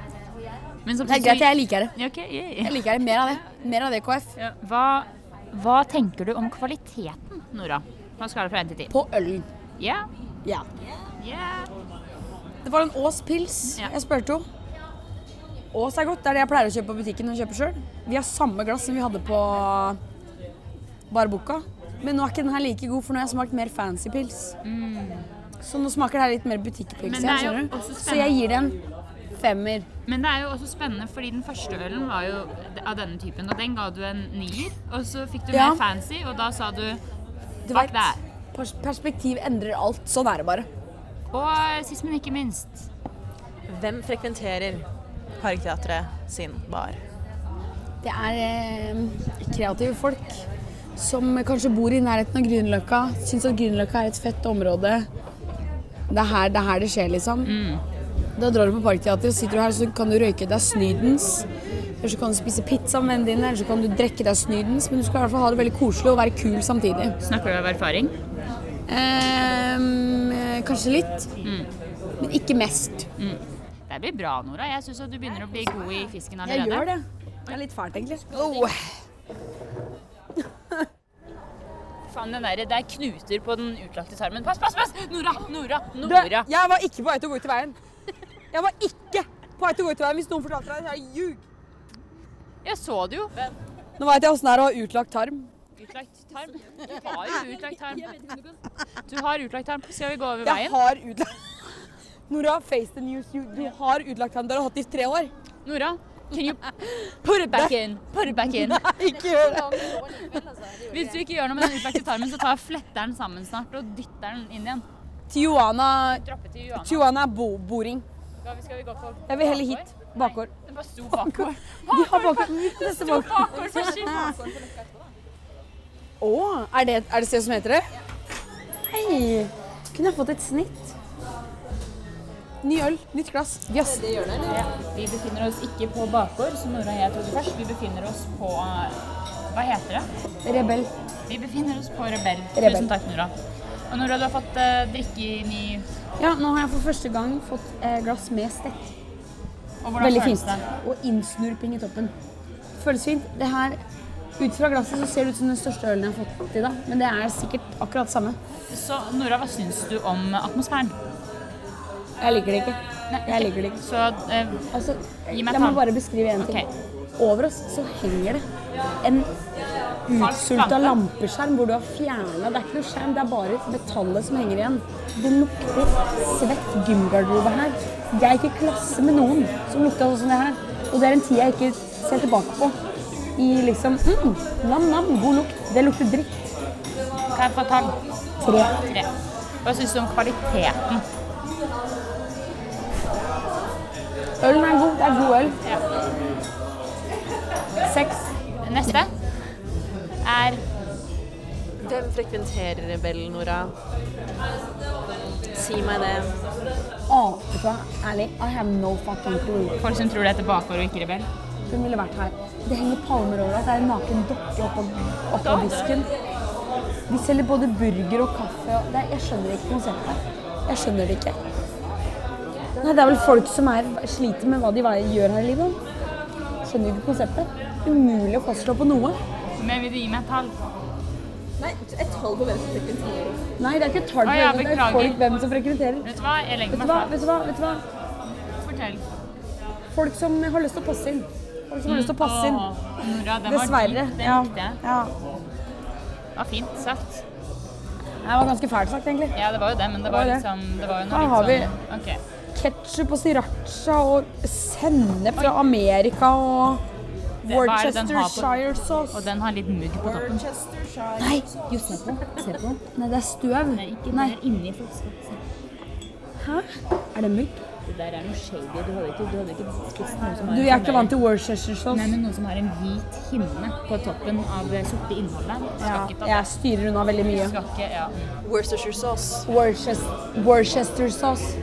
Speaker 3: Men
Speaker 6: Det er greit, jeg liker det.
Speaker 3: Ja, ok, yay.
Speaker 6: Jeg liker det. Mer av det. Mer av det, KF.
Speaker 3: Ja. Hva, hva tenker du om kvaliteten, Nora? På en skala fra 1 til 10?
Speaker 6: På ølen.
Speaker 3: Ja.
Speaker 6: Ja.
Speaker 3: Ja.
Speaker 6: Det var en Ås pils
Speaker 3: Ja.
Speaker 6: jeg spurte om. Ås er godt. Det er det jeg pleier å kjøpe på butikken. og kjøpe selv. Vi har samme glass som vi hadde på Barbuca.
Speaker 7: Men nå er ikke den her like god, for nå har jeg smakt mer fancy pils. Så nå smaker det her litt mer butikkpils igjen,
Speaker 3: Mm. Men det er jo
Speaker 7: skjønner du.
Speaker 3: også
Speaker 7: Så jeg gir det en femmer.
Speaker 3: Men det er jo også spennende, fordi den første ølen var jo av denne typen, og den ga du en nier. Og så fikk du
Speaker 7: Ja.
Speaker 3: mer fancy, og da sa du
Speaker 7: Du
Speaker 3: Fuck
Speaker 7: vet,
Speaker 3: that.
Speaker 7: pers- Perspektiv endrer alt. Sånn er det bare.
Speaker 3: Og sist, men ikke minst
Speaker 2: Hvem frekventerer Parkteatret sin bar?
Speaker 7: Det er eh, kreative folk som kanskje bor i nærheten av Grünerløkka. Syns at Grünerløkka er et fett område. Det er her det, er her det skjer, liksom. Da drar du på Parkteatret, og sitter du her, så kan du røyke deg snydens. Eller så kan du spise pizza med vennene dine, eller så kan du drikke deg snydens. Men du skal i hvert fall ha det veldig koselig og være kul samtidig.
Speaker 3: Snakker du av erfaring?
Speaker 7: Ehm, eh, kanskje litt, men ikke mest.
Speaker 3: Det blir bra, Nora. Jeg syns du begynner å bli god i
Speaker 7: Jeg
Speaker 3: fisken allerede.
Speaker 7: gjør det. Det er litt fælt, egentlig.
Speaker 3: Faen, den der, det er knuter på den utlagte tarmen. Pass, pass, pass! Nora! Nora! Nora!
Speaker 7: Jeg var ikke på vei til å gå ut i veien. Jeg var ikke på vei til å gå ut i veien hvis noen fortalte deg det. Jeg ljug.
Speaker 3: Jeg så det jo.
Speaker 7: Nå veit jeg åssen det er å ha utlagt tarm.
Speaker 3: Utlagt tarm. Du har jo utlagt tarm. Du har utlagt tarm. Skal vi gå over
Speaker 7: Jeg
Speaker 3: veien?
Speaker 7: har utlagt Nora, face the news. You, du har utlagt tarm. Det har du hatt i tre år.
Speaker 3: Nora, can you put it back in? Put it back in.
Speaker 7: Ikke gjør altså. det.
Speaker 3: Hvis du ikke gjør noe med den utlagte tarmen, så tar jeg fletteren sammen snart og dytter den inn igjen.
Speaker 7: Tijuana,
Speaker 3: Droppe til Johanna.
Speaker 7: Tijuana er bo boring.
Speaker 3: Skal vi- Skal vi gå på
Speaker 7: Jeg vil heller hit. Bakgård.
Speaker 3: Det bare sto bakgård.
Speaker 7: De har bakgård. Neste bakgård.
Speaker 3: Bakgård for skitt.
Speaker 7: Å, er det er det stedet som heter det? Hei. Kunne jeg fått et snitt? Ny øl, nytt glass. Jøss.
Speaker 3: Vi befinner oss ikke på bakgård, som Nora og jeg trodde først. Vi befinner oss på Hva heter det?
Speaker 7: Rebell.
Speaker 3: Vi befinner oss på Rebell.
Speaker 7: Rebell.
Speaker 3: Tusen takk, Nora. Og Nora, du har fått eh, drikke inn i
Speaker 7: Ja, nå har jeg for første gang fått eh, glass med stett.
Speaker 3: Og hvordan
Speaker 7: Veldig
Speaker 3: føles
Speaker 7: fint.
Speaker 3: det?
Speaker 7: Og innsnurping i toppen. Føles fint. Det her, ut fra glasset så ser det ut som den største ølen jeg har fått i dag, men det er sikkert akkurat samme.
Speaker 3: Så Nora, hva syns du om atmosfæren?
Speaker 7: Jeg liker det ikke. Jeg liker det ikke.
Speaker 3: Så eh,
Speaker 7: Altså,
Speaker 3: Gi meg
Speaker 7: jeg må
Speaker 3: tann.
Speaker 7: bare beskrive én ting.
Speaker 3: Ok.
Speaker 7: Over oss så henger det en utsulta
Speaker 3: lampe.
Speaker 7: lampeskjerm hvor du har fjerna Det er ikke noe skjerm, det er bare metallet som henger igjen. Det lukter svett gymgarderobe her. Jeg gikk i klasse med noen som lukta sånn som det her. Og det er en tid jeg ikke ser tilbake på. I liksom mm, Nam-nam, god lukt. Det lukter dritt.
Speaker 3: kan jeg få tall?
Speaker 7: Tre.
Speaker 3: Tre. Hva syns du om kvaliteten?
Speaker 7: Ølen er god. Det er god øl.
Speaker 3: Seks. Neste er
Speaker 2: Hvem frekventerer Rebell, Nora? Si meg det.
Speaker 7: Å, vet du hva? Ærlig, I have no fucking clue.
Speaker 3: folk som tror det heter bakgård og ikke rebell.
Speaker 7: Hun ville vært her. Det henger palmer over oss. Det er en naken dokke oppå, oppå disken. De selger både burger og kaffe. Og det, er- jeg skjønner ikke konseptet. Jeg skjønner det ikke. Nei, det er vel folk som er, sliter med hva de vei- gjør her i livet. Skjønner ikke konseptet. Umulig å fastslå på noe.
Speaker 3: Men vil du gi meg et tall?
Speaker 7: Nei, det er ikke tall på
Speaker 3: Å, ja,
Speaker 7: det. Det er
Speaker 3: beklager.
Speaker 7: folk hvem som frekventerer.
Speaker 3: Vet du hva, jeg
Speaker 7: Vet
Speaker 3: legger
Speaker 7: du
Speaker 3: meg
Speaker 7: hva?
Speaker 3: flat.
Speaker 7: Vet du hva? Vet du hva?
Speaker 3: Fortell.
Speaker 7: Folk som har lyst til å passe inn. Folk som har lyst til å passe inn.
Speaker 3: Åh, Nora, den
Speaker 7: Dessverre.
Speaker 3: var dyp. Den
Speaker 7: Ja.
Speaker 3: likte jeg.
Speaker 7: ja.
Speaker 3: Det var fint sagt.
Speaker 7: Det var ganske fælt sagt, egentlig.
Speaker 3: Ja, det var jo det, men det var
Speaker 7: var det.
Speaker 3: liksom Det var jo
Speaker 7: Her
Speaker 3: noe
Speaker 7: har
Speaker 3: litt sånn OK.
Speaker 7: ketsjup og sriracha og sennep fra Amerika og
Speaker 3: hva er det den har på-
Speaker 7: Worcestershire sauce.
Speaker 3: Og den har litt mugg på toppen.
Speaker 7: Nei, jo, se på den. Se på den. Nei, det er støv. Nei,
Speaker 3: inni flaska.
Speaker 7: hæ? Er det mygg?
Speaker 3: Det der er noe shady. Du hadde ikke, du hadde ikke spist noe som har
Speaker 7: Du, jeg er ikke vant til Worcestershire
Speaker 3: Nei,
Speaker 7: sauce.
Speaker 3: men noe som har en hvit hinne på toppen av det sorte innholdet. Du Skal
Speaker 7: Ja,
Speaker 3: ikke ta det.
Speaker 7: jeg styrer unna veldig
Speaker 3: Du
Speaker 7: mye.
Speaker 3: Skal ikke, ja.
Speaker 2: Worcestershire sauce.
Speaker 7: Worcester, Worcester sauce.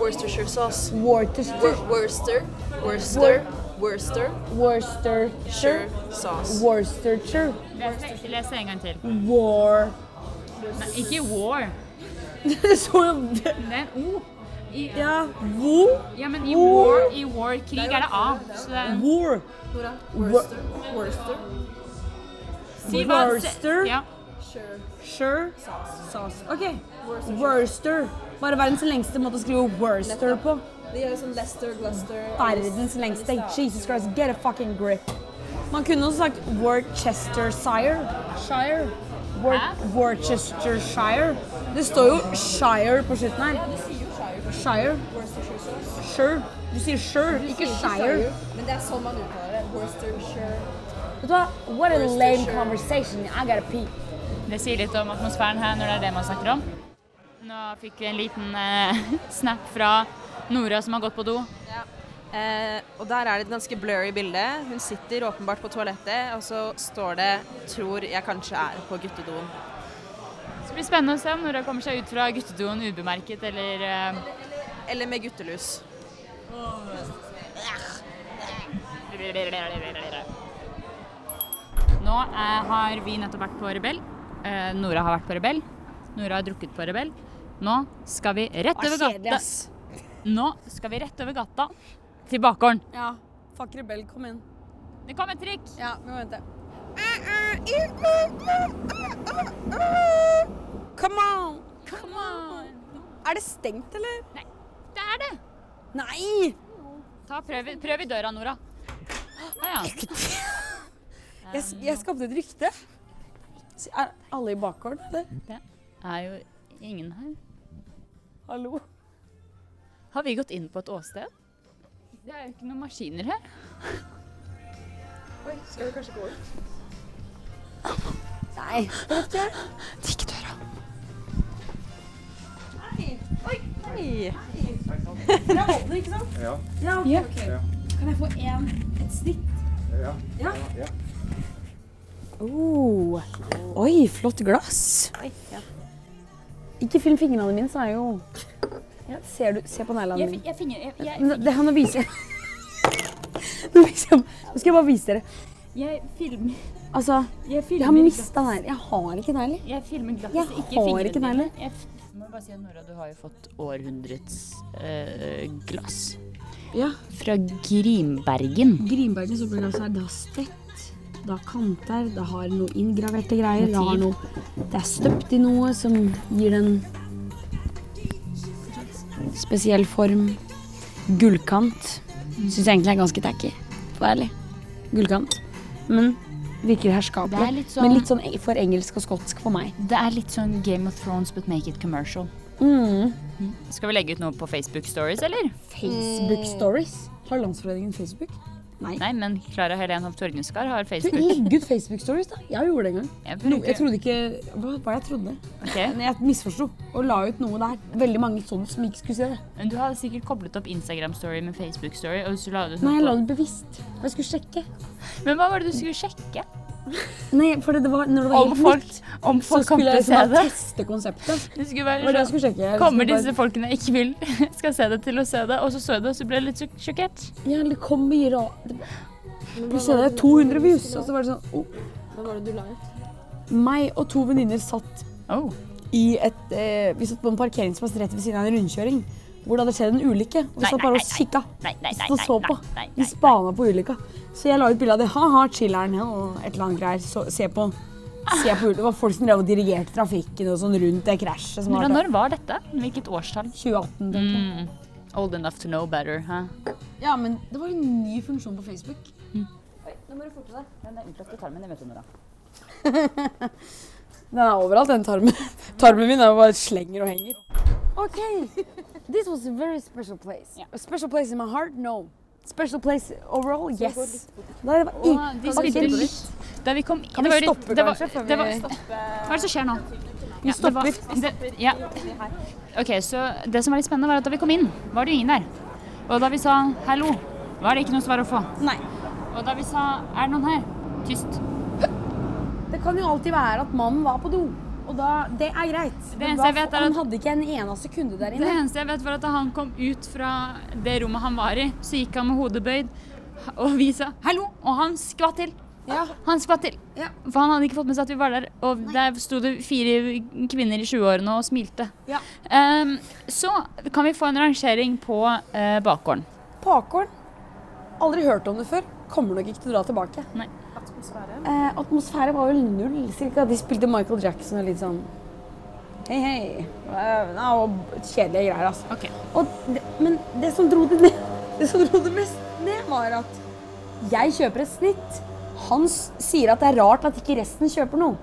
Speaker 2: Worcestershire sauce.
Speaker 7: Worcester,
Speaker 2: Wor- Worcester. Worcester. Worcester.
Speaker 7: Worcestershire.
Speaker 2: sauce.
Speaker 7: Worcestershire.
Speaker 3: Les, les det en gang til.
Speaker 7: War.
Speaker 3: Nei, ikke war.
Speaker 7: Det så jo
Speaker 3: Det er en O. I,
Speaker 7: Ja. Wo?
Speaker 3: ja, men i war, i war, krig er det A. Så det er en
Speaker 7: War. Worcester.
Speaker 3: Si hva- se-
Speaker 7: Worcester?
Speaker 3: Ja.
Speaker 7: Sure. Sauce. Ok. Worcester. Bare verdens lengste måte å skrive Worcester på.
Speaker 1: Det
Speaker 2: er
Speaker 1: gjør sånn Lester, Gloucester
Speaker 7: Verdens lengste. Jesus Christ, get a fucking grip. Man kunne også sagt Worcestershire. Shire. Worcestershire. Det står jo Shire på slutten her. Shire. Sure. Du sier sure, ikke Shire.
Speaker 8: Men det er sånn man uttaler det. Worcestershire.
Speaker 7: Vet du hva? What a lame conversation. I gotta pee.
Speaker 3: Det sier litt om atmosfæren her når det er det man snakker om. Nå fikk vi en liten eh, snap fra Nora som har gått på do.
Speaker 2: Eh, og der er det et ganske blurry bilde. Hun sitter åpenbart på toalettet, og så står det 'tror jeg kanskje er på guttedoen'.
Speaker 3: Så det blir spennende å se om Nora kommer seg ut fra guttedoen ubemerket eller eh,
Speaker 2: Eller med guttelus.
Speaker 3: Nå eh, har vi nettopp vært på Rebell. Eh, Nora har vært på Rebell. Nora har drukket på Rebell. Nå skal vi rett over
Speaker 4: Kjedelig,
Speaker 3: gata.
Speaker 4: ass.
Speaker 3: Nå skal vi rett over gata til bakgården.
Speaker 7: Ja. Fuck rebell, kom inn.
Speaker 3: Det kom et trikk.
Speaker 7: Ja, vi må vente. Come on!
Speaker 3: Come on.
Speaker 7: Er det stengt, eller?
Speaker 3: Det er det.
Speaker 7: Nei!
Speaker 3: Ta prøv, i- prøv i døra, Nora. Ah, ja.
Speaker 7: Jeg, jeg skapte et rykte. Så Er alle i bakgården, eller?
Speaker 3: Er jo ingen her.
Speaker 7: Hallo?
Speaker 3: Har vi gått inn på et åsted? Det er jo ikke noen maskiner her.
Speaker 7: Nei.
Speaker 2: Hei.
Speaker 7: Dere er åpne, ikke sant?
Speaker 9: Ja.
Speaker 7: Ja, ok.
Speaker 3: Ja.
Speaker 7: ok.
Speaker 9: Ja.
Speaker 7: Kan jeg få en, et snitt?
Speaker 9: Ja.
Speaker 7: Ja.
Speaker 9: ja.
Speaker 7: Oh. Oi, flott glass. Ikke film fingrene mine, så er jeg jo ja, ser du, Se på neglene
Speaker 3: Jeg,
Speaker 7: mine.
Speaker 3: fi- jeg, finger, jeg, jeg,
Speaker 7: Nå- Det her nå viser jeg Nå viser jeg Nå skal jeg bare vise dere.
Speaker 3: jeg filmer
Speaker 7: Altså,
Speaker 3: Jeg
Speaker 7: jeg
Speaker 3: filmer
Speaker 7: har
Speaker 3: glatt-
Speaker 7: mista negler. Jeg har ikke negler.
Speaker 3: Jeg filmer glatt
Speaker 7: Jeg
Speaker 3: ikke
Speaker 7: har
Speaker 3: fingrene
Speaker 7: ikke
Speaker 3: dine.
Speaker 7: negler.
Speaker 3: Jeg f- må bare si at Nora, du har jo fått århundrets eh, glass.
Speaker 7: Ja.
Speaker 3: Fra Grimbergen.
Speaker 7: Grinbergen
Speaker 3: altså
Speaker 7: soppeglasset er da stett, da kanter, da har noe inngraverte greier.
Speaker 3: det har
Speaker 7: det er støpt i noe som gir den spesiell form. Gullkant syns jeg egentlig er ganske tacky, for å være ærlig. Gullkant. Men virker herskapelig.
Speaker 3: Det er litt sånn-
Speaker 7: Men litt sånn eng- for engelsk og skotsk for meg.
Speaker 3: Det er litt sånn Game of Thrones but make it commercial.
Speaker 7: Mm.
Speaker 3: Mm. Skal vi legge ut noe på Facebook Stories, eller?
Speaker 7: Facebook stories. Har Landsforeningen Facebook?
Speaker 3: Nei, men Klara Helen Hoff Torgenskar har
Speaker 7: Du,
Speaker 3: Facebook.
Speaker 7: legg ut Facebook stories, da. Jeg gjorde det en gang.
Speaker 3: Jeg
Speaker 7: No,
Speaker 3: bruker-
Speaker 7: jeg trodde ikke Hva var det jeg trodde?
Speaker 3: Ok.
Speaker 7: Men jeg misforsto og la ut noe der. Veldig mange så det som ikke skulle se det.
Speaker 3: Men Du har sikkert koblet opp Instagram-story med Facebook-story. og så la du
Speaker 7: Nei,
Speaker 3: sånn
Speaker 7: jeg la
Speaker 3: på-
Speaker 7: det bevisst. For Jeg skulle sjekke.
Speaker 3: Men hva var det du skulle sjekke?
Speaker 7: Nei, for det var, når det var
Speaker 3: Om
Speaker 7: helt
Speaker 3: folk,
Speaker 7: nytt,
Speaker 3: om
Speaker 7: så
Speaker 3: folk kom
Speaker 7: skulle
Speaker 3: til å
Speaker 7: jeg
Speaker 3: se
Speaker 7: liksom bare
Speaker 3: det?
Speaker 7: teste konseptet.
Speaker 3: sånn Det skulle
Speaker 7: Det
Speaker 3: være
Speaker 7: var det
Speaker 3: sånn-
Speaker 7: jeg skulle sjekke. Jeg
Speaker 3: Kommer
Speaker 7: liksom
Speaker 3: disse folkene jeg ikke vil skal se det, til å se det? Og så så jeg det, og så ble jeg litt sjok- sjokkert.
Speaker 7: bare, Ja, det kom mye ra... det- Plutselig hadde jeg 200 views, og så var det sånn oh.
Speaker 8: Hva var det du la ut?
Speaker 7: Meg og to venninner satt
Speaker 3: Oh.
Speaker 7: i et eh, Vi satt på en parkeringsplass rett ved siden av en rundkjøring. Hvor det hadde skjedd en ulykke. Og vi
Speaker 3: Nei,
Speaker 7: satt
Speaker 3: nei,
Speaker 7: bare
Speaker 3: nei,
Speaker 7: og kikka.
Speaker 3: Nei, nei, nei.
Speaker 7: Vi
Speaker 3: nei,
Speaker 7: så
Speaker 3: nei,
Speaker 7: på.
Speaker 3: nei, nei,
Speaker 7: Vi spana på ulykka. Så jeg la ut bilde av det. Ha-ha, chiller'n ja, og et eller annet greier. Så, se på. Se på ulykka. Det var folk som drev og dirigerte trafikken og sånn rundt det krasjet. som
Speaker 3: Nora,
Speaker 7: var der.
Speaker 3: når var dette? Hvilket årstall?
Speaker 7: 2018. tenker jeg.
Speaker 3: Old enough to know better, hæ?
Speaker 7: Ja, men det var en ny funksjon på Facebook.
Speaker 3: Den er utlagt i tarmen, det vet du, Nora.
Speaker 7: Den er overalt, den tarmen. Tarmen min er jo bare slenger og henger. OK. This was a very special place. A special place in my heart? No. Special place overall? Yes. Nei, det var i-
Speaker 3: de
Speaker 7: var ikke
Speaker 3: spilte
Speaker 7: litt-
Speaker 3: Da vi kom inn
Speaker 7: Kan vi
Speaker 3: det var jo litt-
Speaker 7: stoppe,
Speaker 3: det var-
Speaker 7: kanskje, før
Speaker 3: det var-
Speaker 7: vi-
Speaker 3: Hva er det som skjer nå?
Speaker 7: Vi
Speaker 3: det var-
Speaker 7: stopper.
Speaker 3: det- ja. Ok, så Det som var litt spennende, var at da vi kom inn, var det jo ingen der. Og da vi sa 'hallo', var det ikke noe svar å få.
Speaker 7: Nei.
Speaker 3: Og da vi sa 'er det noen her', tyst.
Speaker 7: Det kan jo alltid være at mannen var på do. Og da, det er greit.
Speaker 3: Det eneste
Speaker 7: var-
Speaker 3: jeg vet er
Speaker 7: Han
Speaker 3: at-
Speaker 7: hadde ikke en eneste kunde der
Speaker 3: Det
Speaker 7: inne.
Speaker 3: eneste jeg vet, var at da han kom ut fra det rommet han var i, så gikk han med hodet bøyd, og vi sa 'hallo', og han skvatt til.
Speaker 7: Ja.
Speaker 3: Han skvatt til.
Speaker 7: Ja.
Speaker 3: For han hadde ikke fått med seg at vi var der. Og der sto det fire kvinner i 20-årene og smilte.
Speaker 7: Ja.
Speaker 3: Ehm, så kan vi få en rangering på eh, bakgården.
Speaker 7: Pakården. Aldri hørt om det før. Kommer nok ikke til å dra tilbake.
Speaker 3: Nei.
Speaker 7: Eh, atmosfære var vel null, cirka. De spilte Michael Jackson og litt sånn Hei, hei. Eh, nei, Og kjedelige greier, altså.
Speaker 3: Ok.
Speaker 7: Og det, men det som dro det ned, det som dro det mest ned, var at jeg kjøper et snitt. Han s- sier at det er rart at ikke resten kjøper noe.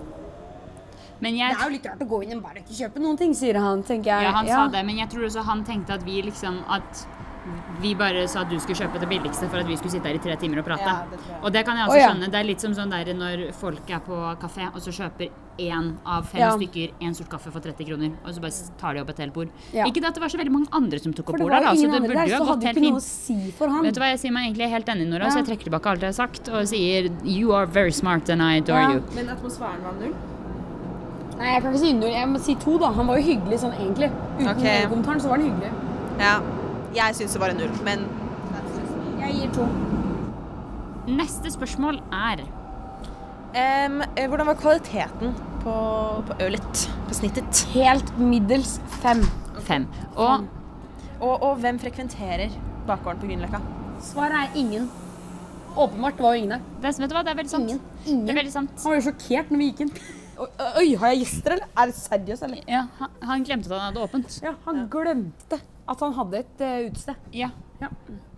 Speaker 3: Men
Speaker 7: Det
Speaker 3: jeg
Speaker 7: er jo litt rart å gå inn og bare ikke kjøpe noen ting, sier han, tenker jeg.
Speaker 3: Ja, han sa det, men jeg tror også han tenkte at vi liksom at vi bare sa at du skulle kjøpe det billigste for at vi skulle sitte her i tre timer og prate. og det kan jeg også
Speaker 7: Å, ja.
Speaker 3: skjønne. Det er litt som sånn der når folk er på kafé og så kjøper én av fem
Speaker 7: Ja.
Speaker 3: stykker en sort kaffe for 30 kroner, og så bare tar de opp et helt bord.
Speaker 7: Ja.
Speaker 3: Ikke det at det var så veldig mange andre som tok
Speaker 7: For
Speaker 3: opp
Speaker 7: det var
Speaker 3: bordet, da,
Speaker 7: jo
Speaker 3: så
Speaker 7: ingen
Speaker 3: det
Speaker 7: andre
Speaker 3: burde
Speaker 7: der,
Speaker 3: jo
Speaker 7: så
Speaker 3: ha
Speaker 7: hadde
Speaker 3: gått
Speaker 7: jo
Speaker 3: helt
Speaker 7: ikke noe å
Speaker 3: fint.
Speaker 7: si for han.
Speaker 3: Vet du hva, jeg sier meg egentlig helt enig, Nora,
Speaker 7: Ja.
Speaker 3: så jeg trekker tilbake alt jeg har sagt, og sier you are very smart and I adore
Speaker 7: Ja.
Speaker 3: you.
Speaker 8: Men atmosfæren var null.
Speaker 7: Nei, jeg kan ikke si null. Jeg må si to, da. Han var jo hyggelig sånn egentlig. Uten
Speaker 2: Ok.
Speaker 7: den kommentaren så var han hyggelig.
Speaker 2: Ja. Jeg syns det var en null, men
Speaker 7: Jeg gir to.
Speaker 3: Neste spørsmål er
Speaker 2: Em, eh, Hvordan var kvaliteten på, på ølet? På snittet?
Speaker 7: Helt middels fem.
Speaker 3: fem. Og
Speaker 2: Og, og hvem frekventerer bakgården på Grünerløkka?
Speaker 7: Svaret er ingen. Åpenbart var jo ingen der.
Speaker 3: det, vet du hva, det er veldig sant.
Speaker 7: Ingen. ingen.
Speaker 3: Det er veldig sant.
Speaker 7: Han var jo sjokkert når vi gikk inn. Oi, Oi, har jeg gjester, eller? Er det seriøst, eller?
Speaker 3: Ja, han, han glemte at han hadde åpent.
Speaker 7: Ja, han glemte at han hadde et eh, utested.
Speaker 3: Ja.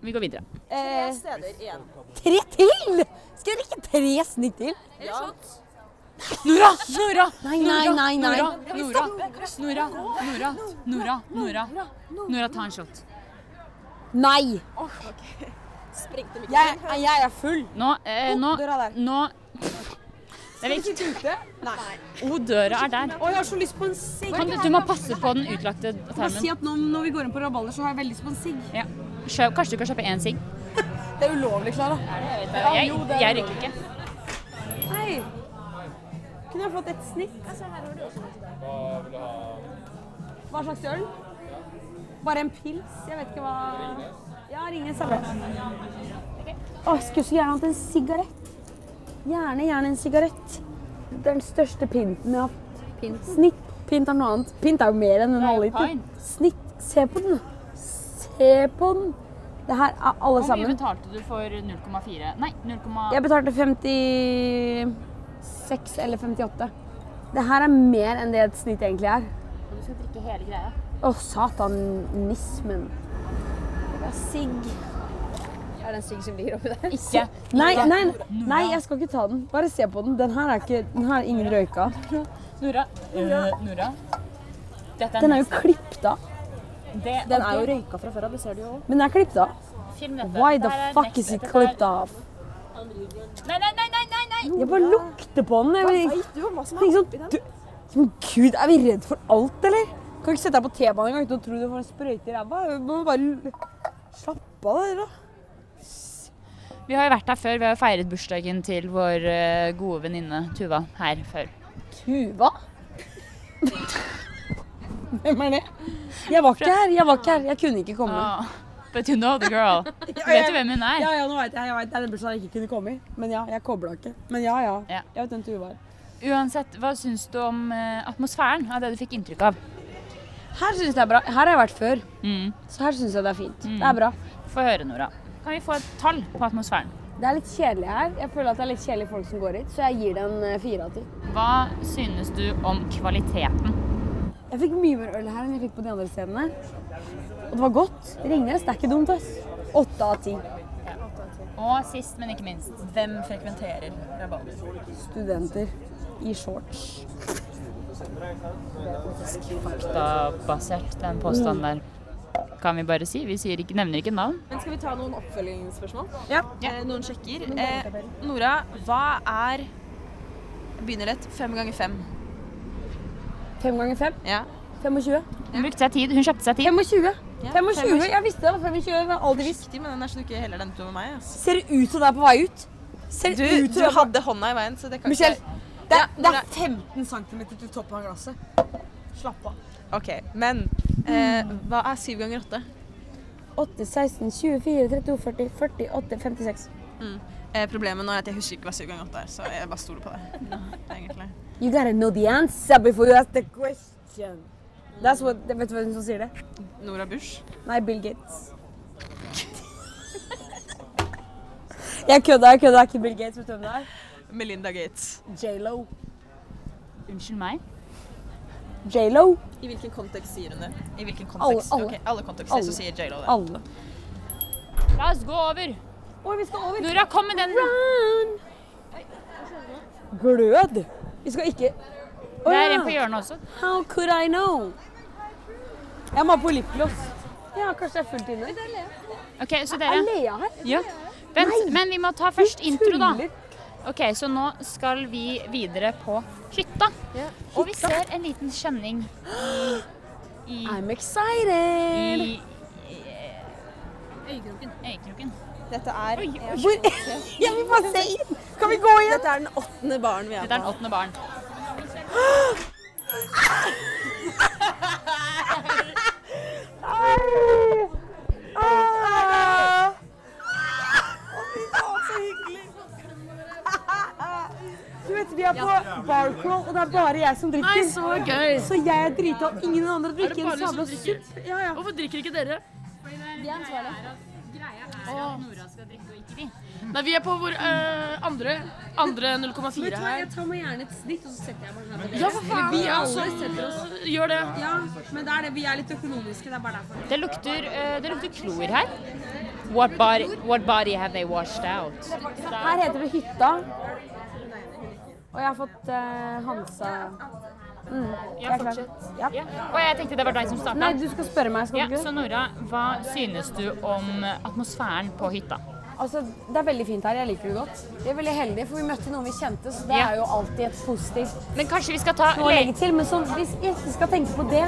Speaker 3: Vi går videre.
Speaker 7: Eh,
Speaker 2: Steder igjen.
Speaker 7: tre til?! Skal dere ikke tre snitt til? Nora! Nora! Nei, nei, nei. nei.
Speaker 3: Nora, Nora, Nora, Nora, Nora, Nora. Nora, ta en shot.
Speaker 7: Nei! Jeg, jeg er full.
Speaker 3: Nå, eh, nå,
Speaker 7: Oh, døra der.
Speaker 3: nå. Det er viktig. O, døra er der.
Speaker 7: Å, jeg har så lyst på en sigg.
Speaker 3: Kan du, du må passe på den utlagte
Speaker 7: Bare si
Speaker 3: tarmen.
Speaker 7: at nå, når vi går inn på rabalder, så har jeg veldig lyst på en sigg.
Speaker 3: Ja. Kjøp, kanskje du kan kjøpe én sigg?
Speaker 7: Det er ulovlig, Klara.
Speaker 3: Jeg, jeg rykker ikke.
Speaker 7: Hei! Kunne jeg fått et snitt? Hva slags øl? Bare en pils? Jeg vet ikke hva Ja, Ringnes er best. Å, jeg skulle så gjerne hatt en sigarett. Gjerne, gjerne en sigarett. Det er den største pynten jeg har hatt. Snitt. Pynt er noe annet. Pynt er jo mer enn en halvliter.
Speaker 3: pint.
Speaker 7: Snitt. Se på den. Se på den. Det her er alle
Speaker 3: Hvor mye
Speaker 7: sammen.
Speaker 3: betalte du for 0,4 Nei, 0,...
Speaker 7: Jeg betalte 56 eller 58. Det her er mer enn det et snitt egentlig er.
Speaker 3: Du skal drikke hele greia.
Speaker 7: Å, satanismen. Sigg.
Speaker 10: Er det en sigg som ligger oppi der?
Speaker 3: Ikke.
Speaker 7: Nei, nei, nei, jeg skal ikke ta den. Bare se på den. Den her er ikke Den her er ingen røyka.
Speaker 3: Nora. eh, Nora. Dette
Speaker 7: Den er jo klippet av.
Speaker 3: det,
Speaker 7: Den er jo
Speaker 3: røyka fra før av, det ser du jo.
Speaker 7: Men den er klippet av.
Speaker 3: Film dette.
Speaker 7: Why the
Speaker 3: Dette her er
Speaker 7: fuck
Speaker 3: next-
Speaker 7: is it
Speaker 3: dette her-
Speaker 7: klippet av?
Speaker 3: Nei, nei, nei, nei, nei, nei!
Speaker 7: Jeg bare lukter på den. Jeg vet
Speaker 1: Veit du hva som er
Speaker 7: ikke
Speaker 1: oppi
Speaker 7: sånn
Speaker 1: den?
Speaker 7: du, Men Gud, er vi redd for alt, eller? Kan ikke sette deg på T-banen engang uten å tro du får en sprøyte i ræva. Du Må bare l- slappe av, dere. da.
Speaker 3: Vi har jo vært her før. Vi har jo feiret bursdagen til vår eh, gode venninne Tuva her før.
Speaker 7: Tuva? Hvem er det? Jeg var ikke her. Jeg var ikke her. Jeg kunne ikke komme.
Speaker 3: Ah, but you know the girl. Vet du hvem hun er?
Speaker 7: Ja, ja, nå vet jeg. jeg vet, det er den bursdagen jeg ikke kunne komme i. Men ja, jeg kobla ikke. Men ja, ja.
Speaker 3: Ja.
Speaker 7: Jeg vet hvem Tuva er.
Speaker 3: Uansett, hva syns du om eh, atmosfæren av det du fikk inntrykk av?
Speaker 7: Her syns jeg det er bra. Her har jeg vært før,
Speaker 3: Mm.
Speaker 7: så her syns jeg det er fint. Det er bra.
Speaker 3: Få høre, Nora. Kan vi få et tall på atmosfæren?
Speaker 7: Det er litt kjedelig her. Jeg føler at det er litt kjedelige folk som går hit, så jeg gir det en eh, fire av ti.
Speaker 3: Hva synes du om kvaliteten?
Speaker 7: Jeg fikk mye mer øl her enn jeg fikk på de andre stedene. Og det var godt. Ringnes, det er ikke dumt, ass. Åtte av ti.
Speaker 3: Og sist, men ikke minst,
Speaker 2: Hvem frekventerer Rabalder?
Speaker 7: Studenter i shorts.
Speaker 3: faktabasert, den påstanden der. Kan vi bare si. Vi sier ikke, nevner ikke navn.
Speaker 8: Men skal vi ta noen oppfølgingsspørsmål?
Speaker 2: Eh, noen sjekker. Eh, Nora, hva er Begynner lett. Fem ganger fem.
Speaker 7: Fem ganger fem.
Speaker 2: Ja.
Speaker 7: 25.
Speaker 3: Hun brukte seg tid. Hun kjøpte seg tid.
Speaker 7: 25.
Speaker 2: Ja,
Speaker 7: 25. Jeg visste det var 25. Jeg har aldri visst.
Speaker 2: Riktig, men den er så du ikke heller den utover meg. altså. ass.
Speaker 7: Ser det ut som det er på vei ut? Ser
Speaker 2: Du,
Speaker 7: det ut
Speaker 2: du
Speaker 7: som det er på-
Speaker 2: hadde hånda i veien, så det kan
Speaker 7: Michelle, det
Speaker 2: Ja,
Speaker 7: er, det
Speaker 2: Nora.
Speaker 7: er 15 cm til toppen av glasset. Slapp av.
Speaker 2: ikke OK, men eh, hva er syv ganger åtte?
Speaker 7: 8, 16, 24, 32, 40, 48, 56.
Speaker 2: Eh, problemet nå er at jeg husker ikke hva syv ganger åtte er, så jeg bare stoler på det. Egentlig.
Speaker 7: You gotta know the answer before you ask the question. That's what, vet du hvem som sier det?
Speaker 2: Nora Bush.
Speaker 7: Nei, Bill Gates. Jeg kødda, jeg kødda. Det er Ikke Bill Gates, vet du hvem det er?
Speaker 2: Melinda Gates.
Speaker 7: J.Lo.
Speaker 3: Unnskyld meg.
Speaker 7: J.Lo.
Speaker 2: I hvilken kontekst sier hun det? I hvilken
Speaker 7: Alle-
Speaker 2: kontekst?
Speaker 7: alle.
Speaker 2: Ok, alle kontekster
Speaker 7: Alle.
Speaker 2: så sier J.Lo det.
Speaker 7: Alle.
Speaker 3: La oss gå over.
Speaker 7: Oi, vi skal over.
Speaker 3: Nora, kom med den.
Speaker 7: Glød. Vi skal ikke Å,
Speaker 3: Det er
Speaker 7: ja.
Speaker 3: en på hjørnet også.
Speaker 7: How could I know? Jeg må ha på lipgloss. Ja, kanskje det er fullt inne.
Speaker 3: Ok, så dere...
Speaker 7: Lea her?
Speaker 3: Ja. Vent, men vi må ta først intro, da.
Speaker 7: tuller.
Speaker 3: Ok, Så nå skal vi videre på hytta. Og vi ser en liten kjenning i,
Speaker 7: I'm excited!
Speaker 3: i, i, i Øyekroken. Øyekroken.
Speaker 2: Dette er,
Speaker 7: Jeg vil bare se inn! Kan vi gå igjen? Ah.
Speaker 2: dette er den åttende baren vi er
Speaker 3: Dette er den åttende barn.
Speaker 7: Du vet, Vi er på barcrawl, og det er bare jeg som drikker. så gøy! Så jeg er drita, og ingen andre drikker. En sabla supp. Ja, ja.
Speaker 8: Hvorfor drikker ikke dere? Nei, vi er på vår eh, andre, andre 0,4 her.
Speaker 7: Jeg tar meg gjerne et snitt, og så setter jeg meg her.
Speaker 8: Ja, for faen! Vi er
Speaker 3: altså,
Speaker 8: også, gjør det.
Speaker 7: Ja, men det er det. Vi er litt økonomiske. Det er bare derfor.
Speaker 3: Det lukter, eh, det lukter klor her. What body, what body have they washed out?
Speaker 7: Her heter det Hytta. Og jeg har fått eh, Hansa Mm.
Speaker 3: Ja, fortsett. Ja. Og jeg tenkte det var deg som
Speaker 7: Nei,
Speaker 3: starta.
Speaker 7: du skal spørre meg, skal
Speaker 3: Ja,
Speaker 7: du ikke?
Speaker 3: så Nora, hva synes du om atmosfæren på hytta?
Speaker 7: Altså, det er veldig fint her. Jeg liker det godt. Vi er veldig heldige, for vi møtte noen vi kjente, så det
Speaker 3: Ja.
Speaker 7: er jo alltid et positivt
Speaker 3: Men kanskje vi skal ta
Speaker 7: noe å legge til. Men så, hvis jeg ikke skal tenke på det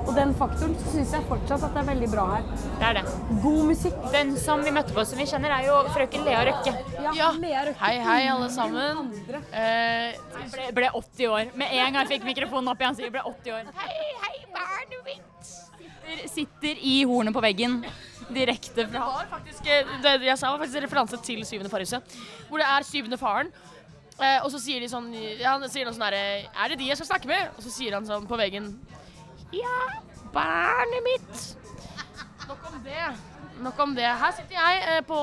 Speaker 7: og den faktoren, så syns jeg fortsatt at det er veldig bra her.
Speaker 3: Det er det.
Speaker 7: God musikk.
Speaker 3: Den som vi møtte på som vi kjenner, er jo frøken Lea Røkke.
Speaker 8: Ja.
Speaker 7: Lea Røkke.
Speaker 8: Hei, hei, alle sammen. Eh,
Speaker 3: Ble, ble 80 år. Med en gang jeg fikk mikrofonen opp i ansiktet, ble 80 år. Hei, hei, barn mitt! Sitter, sitter i hornet på veggen. Direkte
Speaker 8: det
Speaker 3: fra
Speaker 8: var faktisk, eh, det jeg sa var faktisk en referanse til syvende farhuset, hvor det er syvende faren. Eh, og så sier de sånn, ja, han sier noe sånn her, er det de jeg skal snakke med? Og så sier han sånn på veggen, ja, barnet mitt. Nok om det, nok om det. Her sitter jeg eh, på,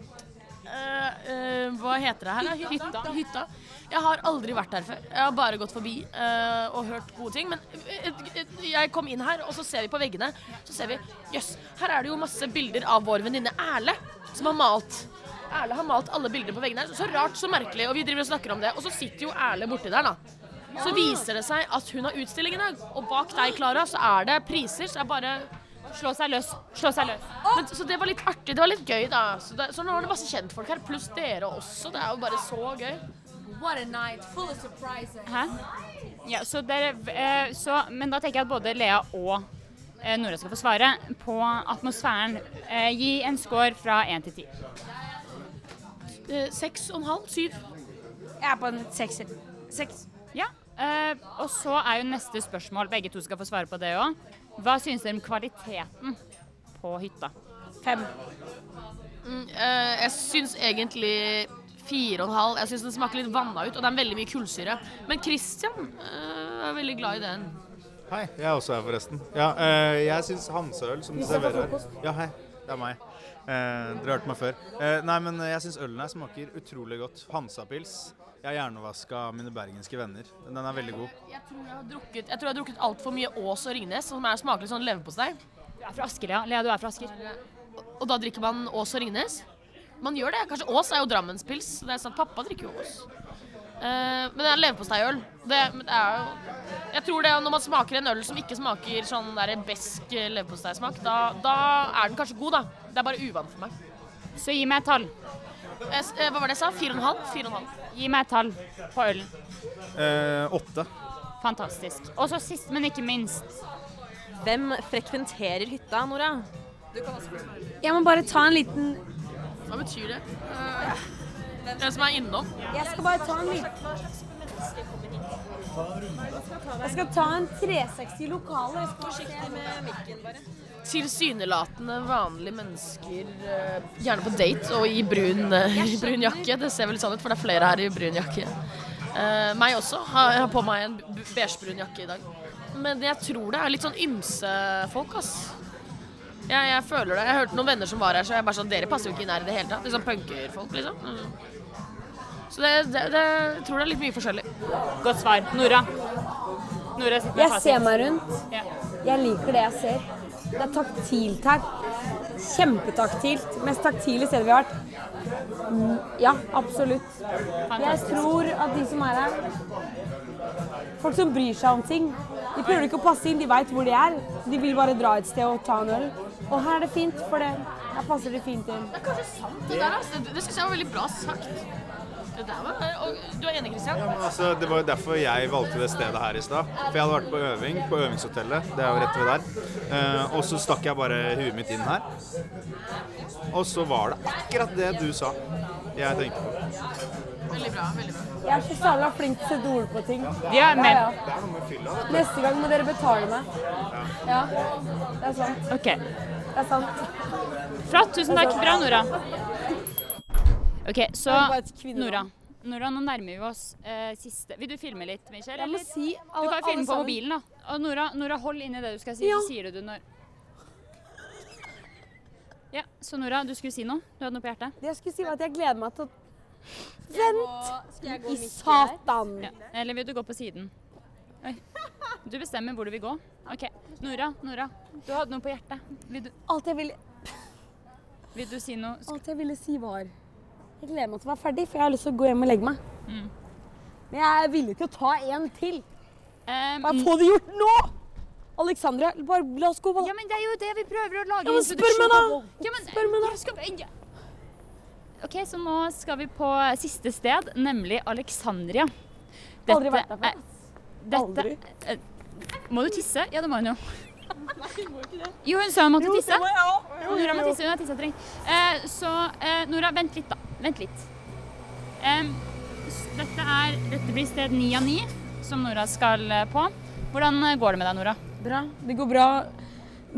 Speaker 8: eh, eh, hva heter det her? da? Hytta. Hytta. Jeg har aldri vært her før. Jeg har bare gått forbi eh, og hørt gode ting. Men eh, et- et- jeg kom inn her, og så ser vi på veggene. Så ser vi Jøss, her er det jo masse bilder av vår venninne Erle, som har malt. Erle har malt alle bildene på veggene her. Så rart, så merkelig. Og vi driver og snakker om det. Og så sitter jo Erle borti der, da. Så viser det seg at hun har utstilling i dag. Og bak deg, Klara, så er det priser. Så jeg bare
Speaker 3: Slå seg løs. Slå seg løs.
Speaker 8: men, Så det var litt artig. Det var litt gøy, da. Så, det, så nå er det masse kjentfolk her. Pluss dere også. Det er jo bare så gøy.
Speaker 3: Hæ? Ja, så dere, eh, så, men da tenker jeg at både Lea og eh, Nora skal få svare på atmosfæren. Eh, Gi en score fra 1 til 10.
Speaker 8: Eh, Seks og en halv, syv.
Speaker 7: Jeg er på en sekser. Seks.
Speaker 3: Ja, eh, og så er jo neste spørsmål, begge to skal få svare på det òg. Hva synes dere om kvaliteten på hytta?
Speaker 7: Fem.
Speaker 8: Mm, eh, jeg syns egentlig fire og en halv. Jeg syns den smaker litt vanna ut, og det er veldig mye kullsyre. Men Christian eh, er veldig glad i den.
Speaker 5: Hei, jeg er også her forresten. Ja, eh, jeg syns Hansøl som du serverer her Ja, hei. Det er meg. Eh, dere har hørt meg før. Eh, nei, men jeg syns ølen her smaker utrolig godt. Hansapils. Jeg har hjernevaska av mine bergenske venner. Den er veldig god.
Speaker 8: Jeg tror jeg har drukket, jeg tror jeg har drukket altfor mye Ås og Ringnes, som er smaker litt sånn leverpostei.
Speaker 3: Du er fra Asker, Lea. Lea, du er fra Asker.
Speaker 8: Og da drikker man Ås og Ringnes? Man gjør det. Kanskje Ås er jo Drammenspils. så Det er sant. Pappa drikker jo Ås. Eh, men det er leverposteiøl. Det, men det er jo Jeg tror det er når man smaker en øl som ikke smaker sånn der besk eh, leverposteismak, da, da er den kanskje god, da. Det er bare uvant for meg.
Speaker 3: Så gi meg et tall.
Speaker 8: Eh, s- eh, hva var det jeg sa? Fire og en halv? Fire og en halv.
Speaker 3: Gi meg et tall på ølen.
Speaker 5: Eh, åtte.
Speaker 3: Fantastisk. Og så sist, men ikke minst.
Speaker 2: Hvem frekventerer hytta, Nora?
Speaker 7: Jeg må bare ta en liten
Speaker 8: Hva betyr det? Den Eh, som er innom.
Speaker 7: Jeg skal bare ta en liten Jeg skal ta en 360 i lokalet. Jeg skal bare se
Speaker 8: Tilsynelatende vanlige mennesker, eh, gjerne på date og i brun, eh, i brun jakke. Det ser vel sånn ut, for det er flere her i brun jakke. Eh, meg også. Har, jeg har på meg en b- beigebrun jakke i dag. Men jeg tror det er litt sånn ymse folk, ass. Jeg, jeg føler det. Jeg hørte noen venner som var her, så jeg bare sånn Dere passer jo ikke inn her i det hele tatt. Litt sånn punkerfolk, liksom. Mm. Så det, det, det, jeg tror det er litt mye forskjellig.
Speaker 3: Godt svar. Nora. Nora sitter med
Speaker 7: Jeg
Speaker 3: fasit.
Speaker 7: ser meg rundt.
Speaker 3: Ja.
Speaker 7: Jeg liker det jeg ser. Det er taktilt her. Kjempetaktilt. Mest taktile stedet vi har vært. Mm, Ja, absolutt. Jeg
Speaker 3: Fantastisk.
Speaker 7: tror at de som er her Folk som bryr seg om ting. De prøver ikke å passe inn, de veit hvor de er. De vil bare dra et sted og ta en øl. Og her er det fint, for det. her passer det fint inn.
Speaker 8: Det er kanskje sant, det der. Altså. Det, det syns jeg var veldig bra sagt. Det der var, og, du er enig, Christian?
Speaker 5: Men Altså, det var jo derfor jeg valgte det stedet her i stad. For jeg hadde vært på øving på øvingshotellet. Det er jo rett ved der. Eh, og så stakk jeg bare huet mitt inn her. Og så var det akkurat det du sa jeg tenkte på.
Speaker 8: Veldig bra. veldig bra.
Speaker 7: Jeg er så særlig flink til å sette ord på ting.
Speaker 3: Ja, men-
Speaker 5: Det er noe med fylla, vet
Speaker 7: Neste gang må dere betale meg. Ja. Det er sant.
Speaker 3: Ok.
Speaker 7: Det er sant.
Speaker 3: Flott. Tusen takk. Bra, Nora. OK, så
Speaker 7: Det er bare et kvinnenavn.
Speaker 3: Nora. Nora, nå nærmer vi oss eh, siste Vil du filme litt, Michelle?
Speaker 7: Jeg må
Speaker 3: eller?
Speaker 7: si
Speaker 3: du
Speaker 7: alle-
Speaker 3: kan jo
Speaker 7: alle
Speaker 3: filme på
Speaker 7: sammen.
Speaker 3: mobilen, da. Og Nora, Nora hold inni det du skal si,
Speaker 7: Ja.
Speaker 3: så sier du det når Ja, så Nora, du skulle si noe? Du hadde noe på hjertet?
Speaker 7: Det jeg skulle si, var at jeg gleder meg til å Vent!
Speaker 11: Skal jeg gå
Speaker 7: I
Speaker 11: midt i her?
Speaker 7: satan!
Speaker 3: Ja. Eller vil du gå på siden? Oi. Du bestemmer hvor du vil gå. OK. Nora, Nora. Du hadde noe på hjertet. Vil du,
Speaker 7: Alt jeg, ville,
Speaker 3: vil du si noe?
Speaker 7: alt jeg ville si, var Jeg gleder meg til å være ferdig, for jeg har lyst til å gå hjem og legge meg.
Speaker 11: Mm.
Speaker 7: Men jeg er villig til å ta en til.
Speaker 3: Um,
Speaker 11: Mm.
Speaker 7: Bare få det gjort nå! Alexandra, bare la oss gå.
Speaker 3: Ja,
Speaker 7: Bare.
Speaker 3: men det er jo det vi prøver å lage
Speaker 7: Ja, men
Speaker 3: en
Speaker 7: spør meg,
Speaker 3: introduksjon
Speaker 7: da!
Speaker 3: på. Ja, men,
Speaker 7: Spør meg, da!
Speaker 3: jeg skal- jeg- OK, så nå skal vi på siste sted, nemlig Alexandria.
Speaker 7: Aldri vært der før.
Speaker 3: Dette
Speaker 7: Aldri.
Speaker 3: eh, Må du tisse? Ja, det må hun jo. Jo, hun sa hun måtte tisse. Nora må tisse, hun har tissetreng. Eh, så eh, Nora, vent litt, da. Vent litt. Em, s- dette, er, dette blir sted ni av ni, som Nora skal eh, på. Hvordan eh, går det med deg, Nora?
Speaker 7: Bra. Det går bra.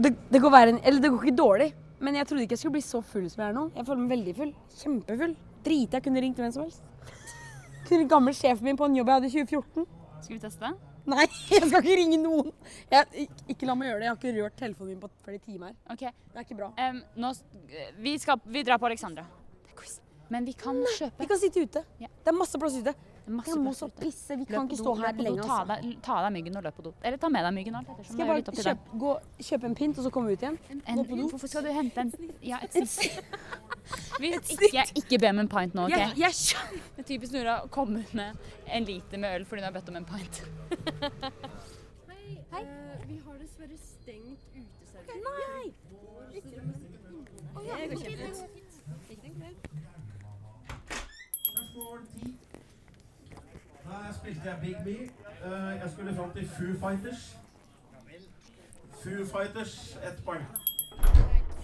Speaker 7: Det, det går verre enn Eller det går ikke dårlig. Men jeg trodde ikke jeg skulle bli så full som jeg er nå. Jeg føler meg veldig full. Kjempefull. Drita. Jeg kunne ringt hvem som helst. Kunne ringt gamle sjefen min på en jobb jeg hadde i 2014.
Speaker 3: Skal vi teste?
Speaker 7: Nei, jeg skal ikke ringe noen. Jeg, ik- ikke la meg gjøre det. Jeg har ikke rørt telefonen min på flere timer.
Speaker 3: OK.
Speaker 7: Det er ikke bra.
Speaker 3: Em, nå, s- vi, skal, vi drar på Alexandra. Det er quiz. Men vi kan kjøpe
Speaker 7: Vi kan sitte ute.
Speaker 3: Ja.
Speaker 7: Det er masse plass ute.
Speaker 3: masse
Speaker 7: Jeg må så
Speaker 3: plasser ute.
Speaker 7: pisse. Vi
Speaker 3: Løp
Speaker 7: kan
Speaker 3: på
Speaker 7: ikke
Speaker 3: do,
Speaker 7: stå
Speaker 3: løp
Speaker 7: her
Speaker 3: på do,
Speaker 7: lenge.
Speaker 3: Ta
Speaker 7: Altså.
Speaker 3: av deg, ta av deg myggen og løp på do. Eller ta med deg myggen. alt ettersom.
Speaker 7: Skal jeg
Speaker 3: Det er jo
Speaker 7: bare
Speaker 3: litt opp til deg.
Speaker 7: kjøpe, gå, kjøpe en pint, og så komme ut igjen?
Speaker 3: En,
Speaker 7: Gå på do?
Speaker 3: hvorfor skal du hente en Ja, et snitt. Vi, ikke, ikke be om en pint nå,
Speaker 7: Jeg,
Speaker 3: OK?
Speaker 7: jeg skjønner.
Speaker 3: Det er typisk Nora å komme med en liter med øl fordi hun har bedt om en pint.
Speaker 11: vi har dessverre stengt uteserveringen. Nei!
Speaker 12: Her spilte jeg Big B. Eh, Jeg skulle fram til Foo Fighters. Foo Fighters, ett poeng.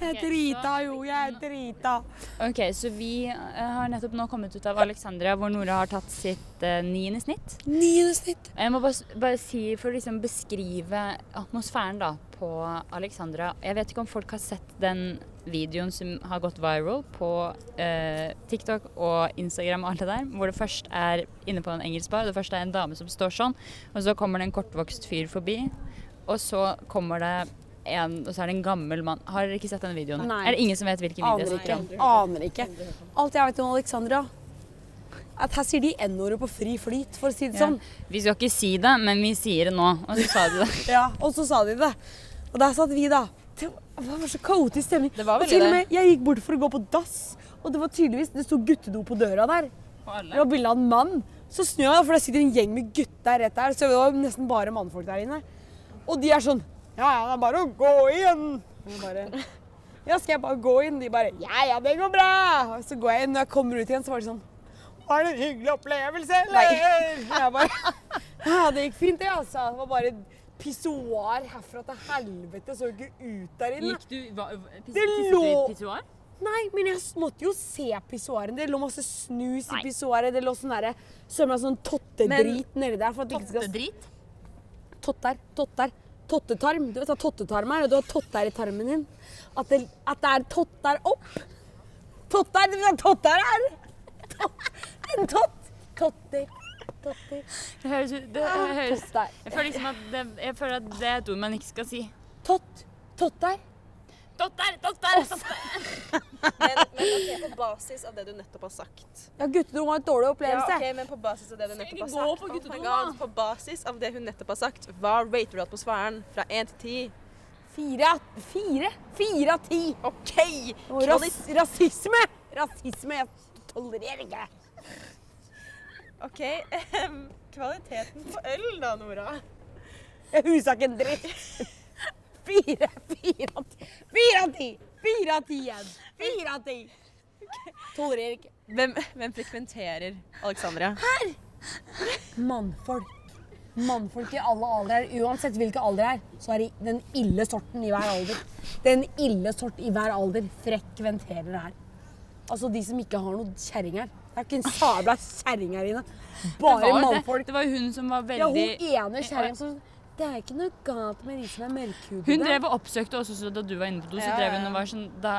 Speaker 7: Jeg er
Speaker 3: Ok, så-
Speaker 7: drita jo, jeg er drita.
Speaker 3: OK, så vi eh, har nettopp nå kommet ut av Alexandria, hvor Nora har tatt sitt eh, niende snitt.
Speaker 7: Niende snitt.
Speaker 3: Jeg må bare, s- bare si, for å liksom beskrive atmosfæren da, på Alexandra Jeg vet ikke om folk har sett den videoen som har gått viral på eh, TikTok og Instagram og alt det der, hvor det først er inne på en engelsk bar, det først er en dame som står sånn, og så kommer det en kortvokst fyr forbi, og så kommer det en, og så er det en gammel mann. Har dere ikke sett den videoen?
Speaker 7: Nei.
Speaker 3: Er det ingen som vet hvilken video
Speaker 7: Aner
Speaker 3: jeg
Speaker 7: ikke.
Speaker 3: snakker om?
Speaker 7: Aner ikke. Alt jeg vet om Alexandra, at her sier de N-ordet på fri flyt, for å si det sånn.
Speaker 3: Ja. Vi skal ikke si det, men vi sier det nå. Og så sa de det.
Speaker 7: Ja, og så sa de det. Og der satt vi, da. Det var så kaotisk stemning.
Speaker 3: Det var
Speaker 7: og
Speaker 3: veldig
Speaker 7: til og
Speaker 3: det.
Speaker 7: med, jeg gikk bort for å gå på dass, og det var tydeligvis Det sto guttedo på døra der.
Speaker 3: Og alle.
Speaker 7: Det var bilde av en mann. Så snur jeg, meg, for det sitter en gjeng med gutter rett der. Så det var nesten bare mannfolk der inne. Og de er sånn Ja, ja, det er bare å gå inn. Og jeg bare Ja, skal jeg bare gå inn? De bare Ja, ja, det går bra. Og så går jeg inn. Når jeg kommer ut igjen, så var det sånn Var det en hyggelig opplevelse, eller? Jeg bare Ja, det gikk fint, det, altså. Det var bare pissoar herfra til helvete. Så jo ikke ut der inne.
Speaker 3: Gikk du, hva, pis,
Speaker 7: Det
Speaker 3: pisset du
Speaker 7: lå-
Speaker 3: i pissoar?
Speaker 7: Nei, men jeg s- måtte jo se pissoaren. Det lå masse snus
Speaker 3: Nei.
Speaker 7: i pissoaret. Det lå sånn derre Søren meg sånn tottedrit nedi der. For at det ikke skal
Speaker 8: Tottedrit?
Speaker 7: Totter. Totter. Tottetarm. Du vet hva tottetarm er? og Du har totter i tarmen din. At det, at det er totter opp. Totter! Du vet hva totter er? Tott. En tott. Totter. Totter.
Speaker 3: Det høres ut det høres,
Speaker 7: Totter.
Speaker 3: Ah. jeg, føler liksom at det, jeg føler at det er et ord man ikke skal si.
Speaker 7: Tott. Totter.
Speaker 3: Totter, totter, totter.
Speaker 2: Men, men ok, på basis av det du nettopp har sagt
Speaker 7: Ja, guttedo var en dårlig
Speaker 2: Ja,
Speaker 7: opplevelse.
Speaker 2: ok, men på basis av det du nettopp har
Speaker 3: gå på
Speaker 2: sagt Oh my
Speaker 3: guttedo,
Speaker 2: God, På basis av det hun nettopp har sagt, hva rater du atmosfæren fra 1 til 10?
Speaker 7: Fire av fire. Fire av ti.
Speaker 2: OK!
Speaker 7: Og ras rasisme! Rasisme jeg tolererer ikke.
Speaker 2: Ok, ehm, kvaliteten på øl da, Nora?
Speaker 7: Jeg husa ikke en dritt. Fire, fire av ti. Fire av ti! Fire av ti igjen. Fire av ti. Tolererer ikke.
Speaker 2: Hvem, hvem frekventerer Alexandra?
Speaker 7: Her! Mannfolk. Mannfolk i alle aldre. Uansett hvilken alder det er, så er det den ille sorten i hver alder. Den ille sort i hver alder frekventerer det her. Altså de som ikke har noe kjerring her. Det er ikke en sabla kjerring her inne. Bare
Speaker 3: det var jo
Speaker 7: mannfolk.
Speaker 3: Det, det var jo hun som var
Speaker 7: Ja,
Speaker 3: veldig
Speaker 7: hun ene kjerringa som Det er ikke noe galt med de som er mørkhudede.
Speaker 3: Hun drev og oppsøkte også så da du var inne på do, så
Speaker 7: Ja,
Speaker 3: drev
Speaker 7: ja.
Speaker 3: hun og var sånn Da,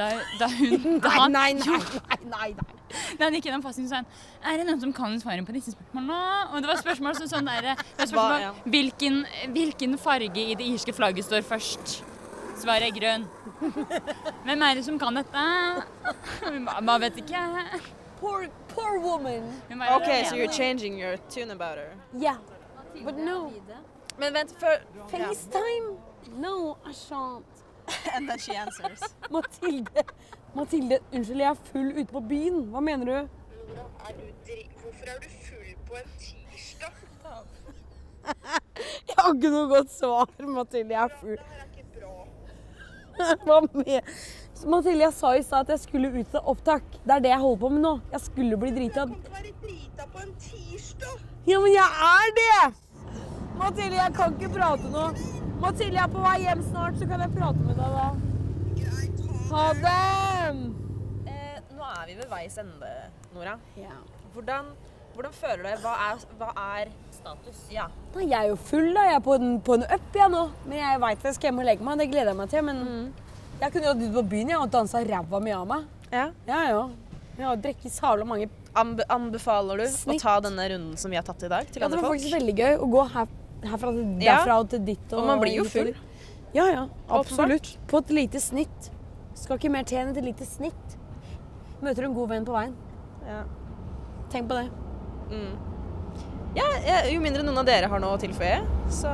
Speaker 3: da, da hun da
Speaker 7: Nei,
Speaker 3: han-
Speaker 7: nei, nei,
Speaker 3: Jo.
Speaker 7: nei, nei, nei.
Speaker 3: Da han gikk gjennom fasiten, så sa han Er det noen som kan svarene på disse spørsmålene? Og det var spørsmål som sånn derre Det var
Speaker 2: Hva,
Speaker 3: spørsmål
Speaker 2: ja.
Speaker 3: om hvilken, hvilken farge i det irske flagget står først? Svaret er grønn. Hvem er det som kan dette? Hun ba- Hva vet ikke.
Speaker 7: Poor, poor woman.
Speaker 2: Okay, so you're changing your tune about her.
Speaker 7: Yeah. But no.
Speaker 2: Men vent, før
Speaker 7: FaceTime? No, I shan't.
Speaker 2: And then she answers.
Speaker 7: Mathilde, Mathilde, unnskyld, jeg er full ute på byen. Hva mener du?
Speaker 1: Er du dri Hvorfor er du full på en tirsdag?
Speaker 7: Jeg har ikke noe godt svar, Mathilde. Jeg er full. Hva med? Mathilde, jeg sa i stad at jeg skulle ut til opptak. Det er det jeg holder på med nå. Jeg skulle bli drita.
Speaker 1: Være drita på en tirsdag?
Speaker 7: Ja, men jeg er det! Mathilde, jeg kan ikke prate nå. Mathilde, jeg er på vei hjem snart, så kan jeg prate med deg da. Ha det!
Speaker 2: Eh, nå er vi ved veis ende, Nora. Hvordan, hvordan føler du deg? Hva er, hva er status? Ja.
Speaker 7: Nei, jeg er jo full, da. Jeg er på en, på en up jeg nå. Men jeg veit jeg skal hjem og legge meg. Det gleder jeg meg til. Men jeg kunne dratt ut på byen jeg, og dansa ræva mi av meg.
Speaker 2: Ja.
Speaker 7: ja, ja. Jeg har drukket savla mange
Speaker 2: Anbe anbefaler du
Speaker 7: Snitt.
Speaker 2: å ta denne runden som vi har tatt i dag, til
Speaker 7: Ja, det
Speaker 2: andre
Speaker 7: var
Speaker 2: folk?
Speaker 7: faktisk veldig gøy å gå her, herfra til,
Speaker 2: Ja.
Speaker 7: derfra og til ditt.
Speaker 2: Og man blir jo full.
Speaker 7: Ja, ja. Absolutt. På et lite snitt. Skal ikke mer til enn et lite snitt. Møter du en god venn på veien.
Speaker 2: Ja.
Speaker 7: Tenk på det.
Speaker 2: Mm. Ja, jeg- jo mindre noen av dere har noe å tilføye, så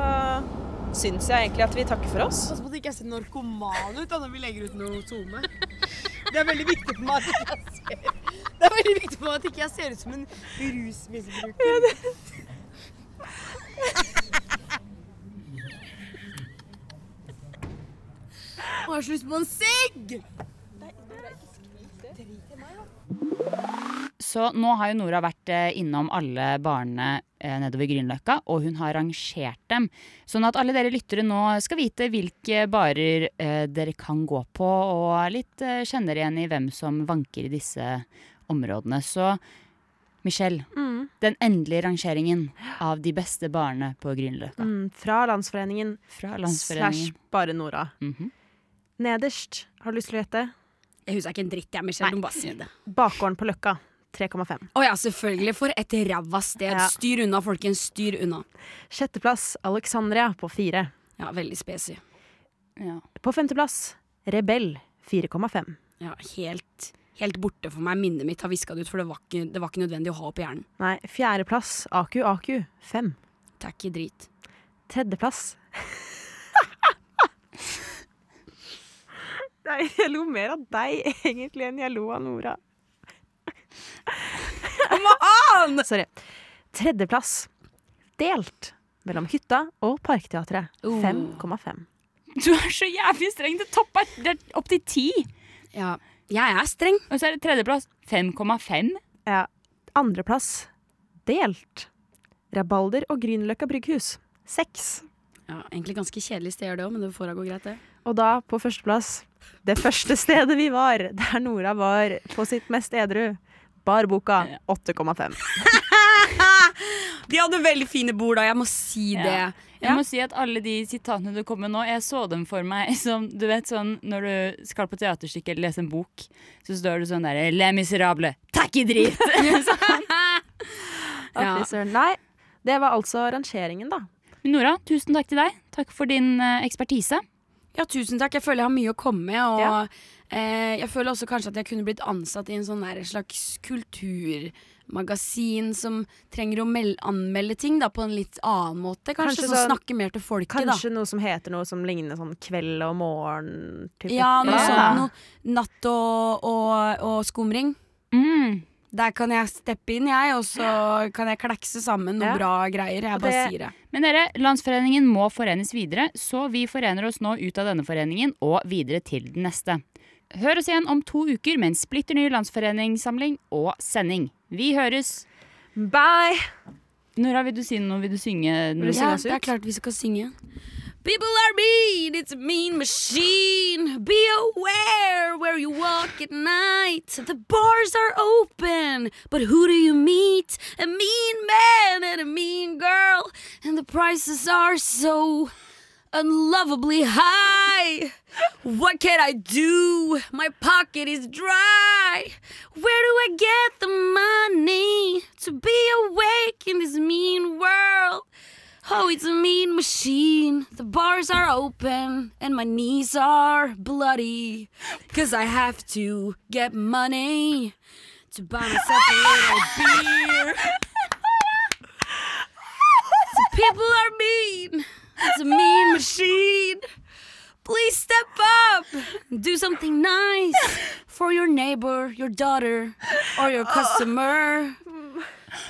Speaker 2: syns jeg egentlig at vi takker for oss.
Speaker 13: Pass på at jeg ikke ser narkoman ut da, når vi legger ut noe SoMe. Det er veldig viktig for meg at ikke jeg ser, det er veldig viktig for meg at ikke jeg ser ut som en rusmisbruker.
Speaker 10: Har jeg så lyst på en sigg!
Speaker 6: Så nå har jo Nora vært eh, innom alle barene eh, nedover Grünerløkka, og hun har rangert dem. Sånn at alle dere lyttere nå skal vite hvilke barer eh, dere kan gå på, og litt eh, kjenner igjen i hvem som vanker i disse områdene. Så Michelle,
Speaker 2: Mm.
Speaker 6: den endelige rangeringen av de beste barene på Grünerløkka.
Speaker 2: Mm, fra Landsforeningen,
Speaker 6: Fra Landsforeningen.
Speaker 2: slash bare Nora.
Speaker 6: Mhm.
Speaker 2: Nederst, har du lyst til å gjette?
Speaker 4: Jeg husker ikke en dritt, jeg, Michelle. Du må bare si det.
Speaker 2: Bakgården på Løkka. 3,5.
Speaker 4: Å ja, selvfølgelig. For et ræva sted.
Speaker 2: Ja.
Speaker 4: Styr unna, folkens. Styr unna.
Speaker 2: Sjetteplass Alexandria på 4.
Speaker 4: Ja, veldig spesig.
Speaker 2: På femteplass Rebell 4,5.
Speaker 4: Ja, helt, helt borte for meg. Minnet mitt har viska det ut, for det var, ikke, det var ikke nødvendig å ha på hjernen.
Speaker 2: Nei, fjerdeplass Aku Aku 5.
Speaker 4: Det er ikke drit.
Speaker 2: Tredjeplass Nei, jeg lo mer av deg egentlig enn jeg lo av Nora. Kom an! Sorry. Tredjeplass delt mellom hytta og Parkteatret. 5,5.
Speaker 3: Du er så jævlig streng. Det topper det er opp til ti.
Speaker 4: Ja, jeg er streng.
Speaker 3: Og så er det tredjeplass. 5,5.
Speaker 2: Ja. Andreplass delt. Rabalder og Grünerløkka brygghus. 6.
Speaker 4: Ja, egentlig ganske kjedelig steder det òg, men det får da gå greit, det.
Speaker 2: Og da, på førsteplass, det første stedet vi var, der Nora var på sitt mest edru, Barboka 8,5.
Speaker 4: De hadde veldig fine bord da, jeg må si det.
Speaker 3: Ja. Jeg må si at alle de sitatene du kom med nå, jeg så dem for meg som Du vet sånn når du skal på teaterstykke eller lese en bok, så står det sånn der Le miserable, takk i drit!
Speaker 2: Ja. Nei, det var altså rangeringen, da.
Speaker 3: Nora, tusen takk til deg. Takk for din eh, ekspertise.
Speaker 4: Ja, tusen takk. Jeg føler jeg har mye å komme med. Og eh, jeg føler også kanskje at jeg kunne blitt ansatt i en sånn der slags kulturmagasin som trenger å mel anmelde ting da, på en litt annen måte. Kanskje,
Speaker 2: Kanskje
Speaker 4: som
Speaker 2: sånn-
Speaker 4: snakker mer til folket,
Speaker 2: Kanskje
Speaker 4: da.
Speaker 2: noe som heter noe som ligner sånn kveld og morgen? type
Speaker 4: Ja, noe
Speaker 2: ting.
Speaker 3: Mm.
Speaker 4: sånn. Noe natt og, og, og skumring. Der kan jeg steppe inn, jeg, og så kan jeg klekse sammen noen
Speaker 3: Ja.
Speaker 4: bra greier. Jeg bare sier det.
Speaker 3: Men dere, Landsforeningen må forenes videre, så vi forener oss nå ut av denne foreningen og videre til den neste. Hør oss igjen om to uker med en splitter ny landsforeningssamling og sending. Vi høres!
Speaker 2: Bye!
Speaker 3: Nora, vil du si noe? Vil du synge noe?
Speaker 4: Ja, det er klart vi skal synge. People are mean, it's a mean machine. Be aware where you walk at night. The bars are open, but who do you meet? A mean man and a mean girl, and the prices are so unlovably high. What can I do? My pocket is dry. Where do I get the money to be awake in this mean world? Oh, it's a mean machine. The bars are open and my knees are bloody. Cause I have to get money to buy myself a little beer. So people are mean. It's a mean machine. Please step up. Do something nice for your neighbor, your daughter, or your customer.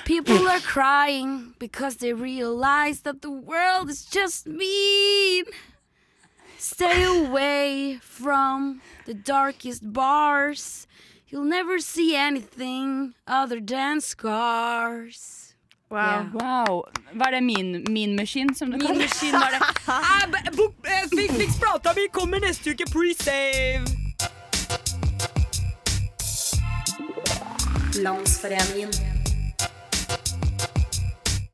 Speaker 4: People are crying because they realize that the world is just mean. Stay away from the darkest bars. You'll never see anything other than scars.
Speaker 3: Wow. wow. Var det min, min maskin som du
Speaker 4: Min
Speaker 3: kaller
Speaker 4: maskin var det.
Speaker 14: Fiks plata mi kommer neste uke, pre-save!
Speaker 15: Landsforeningen.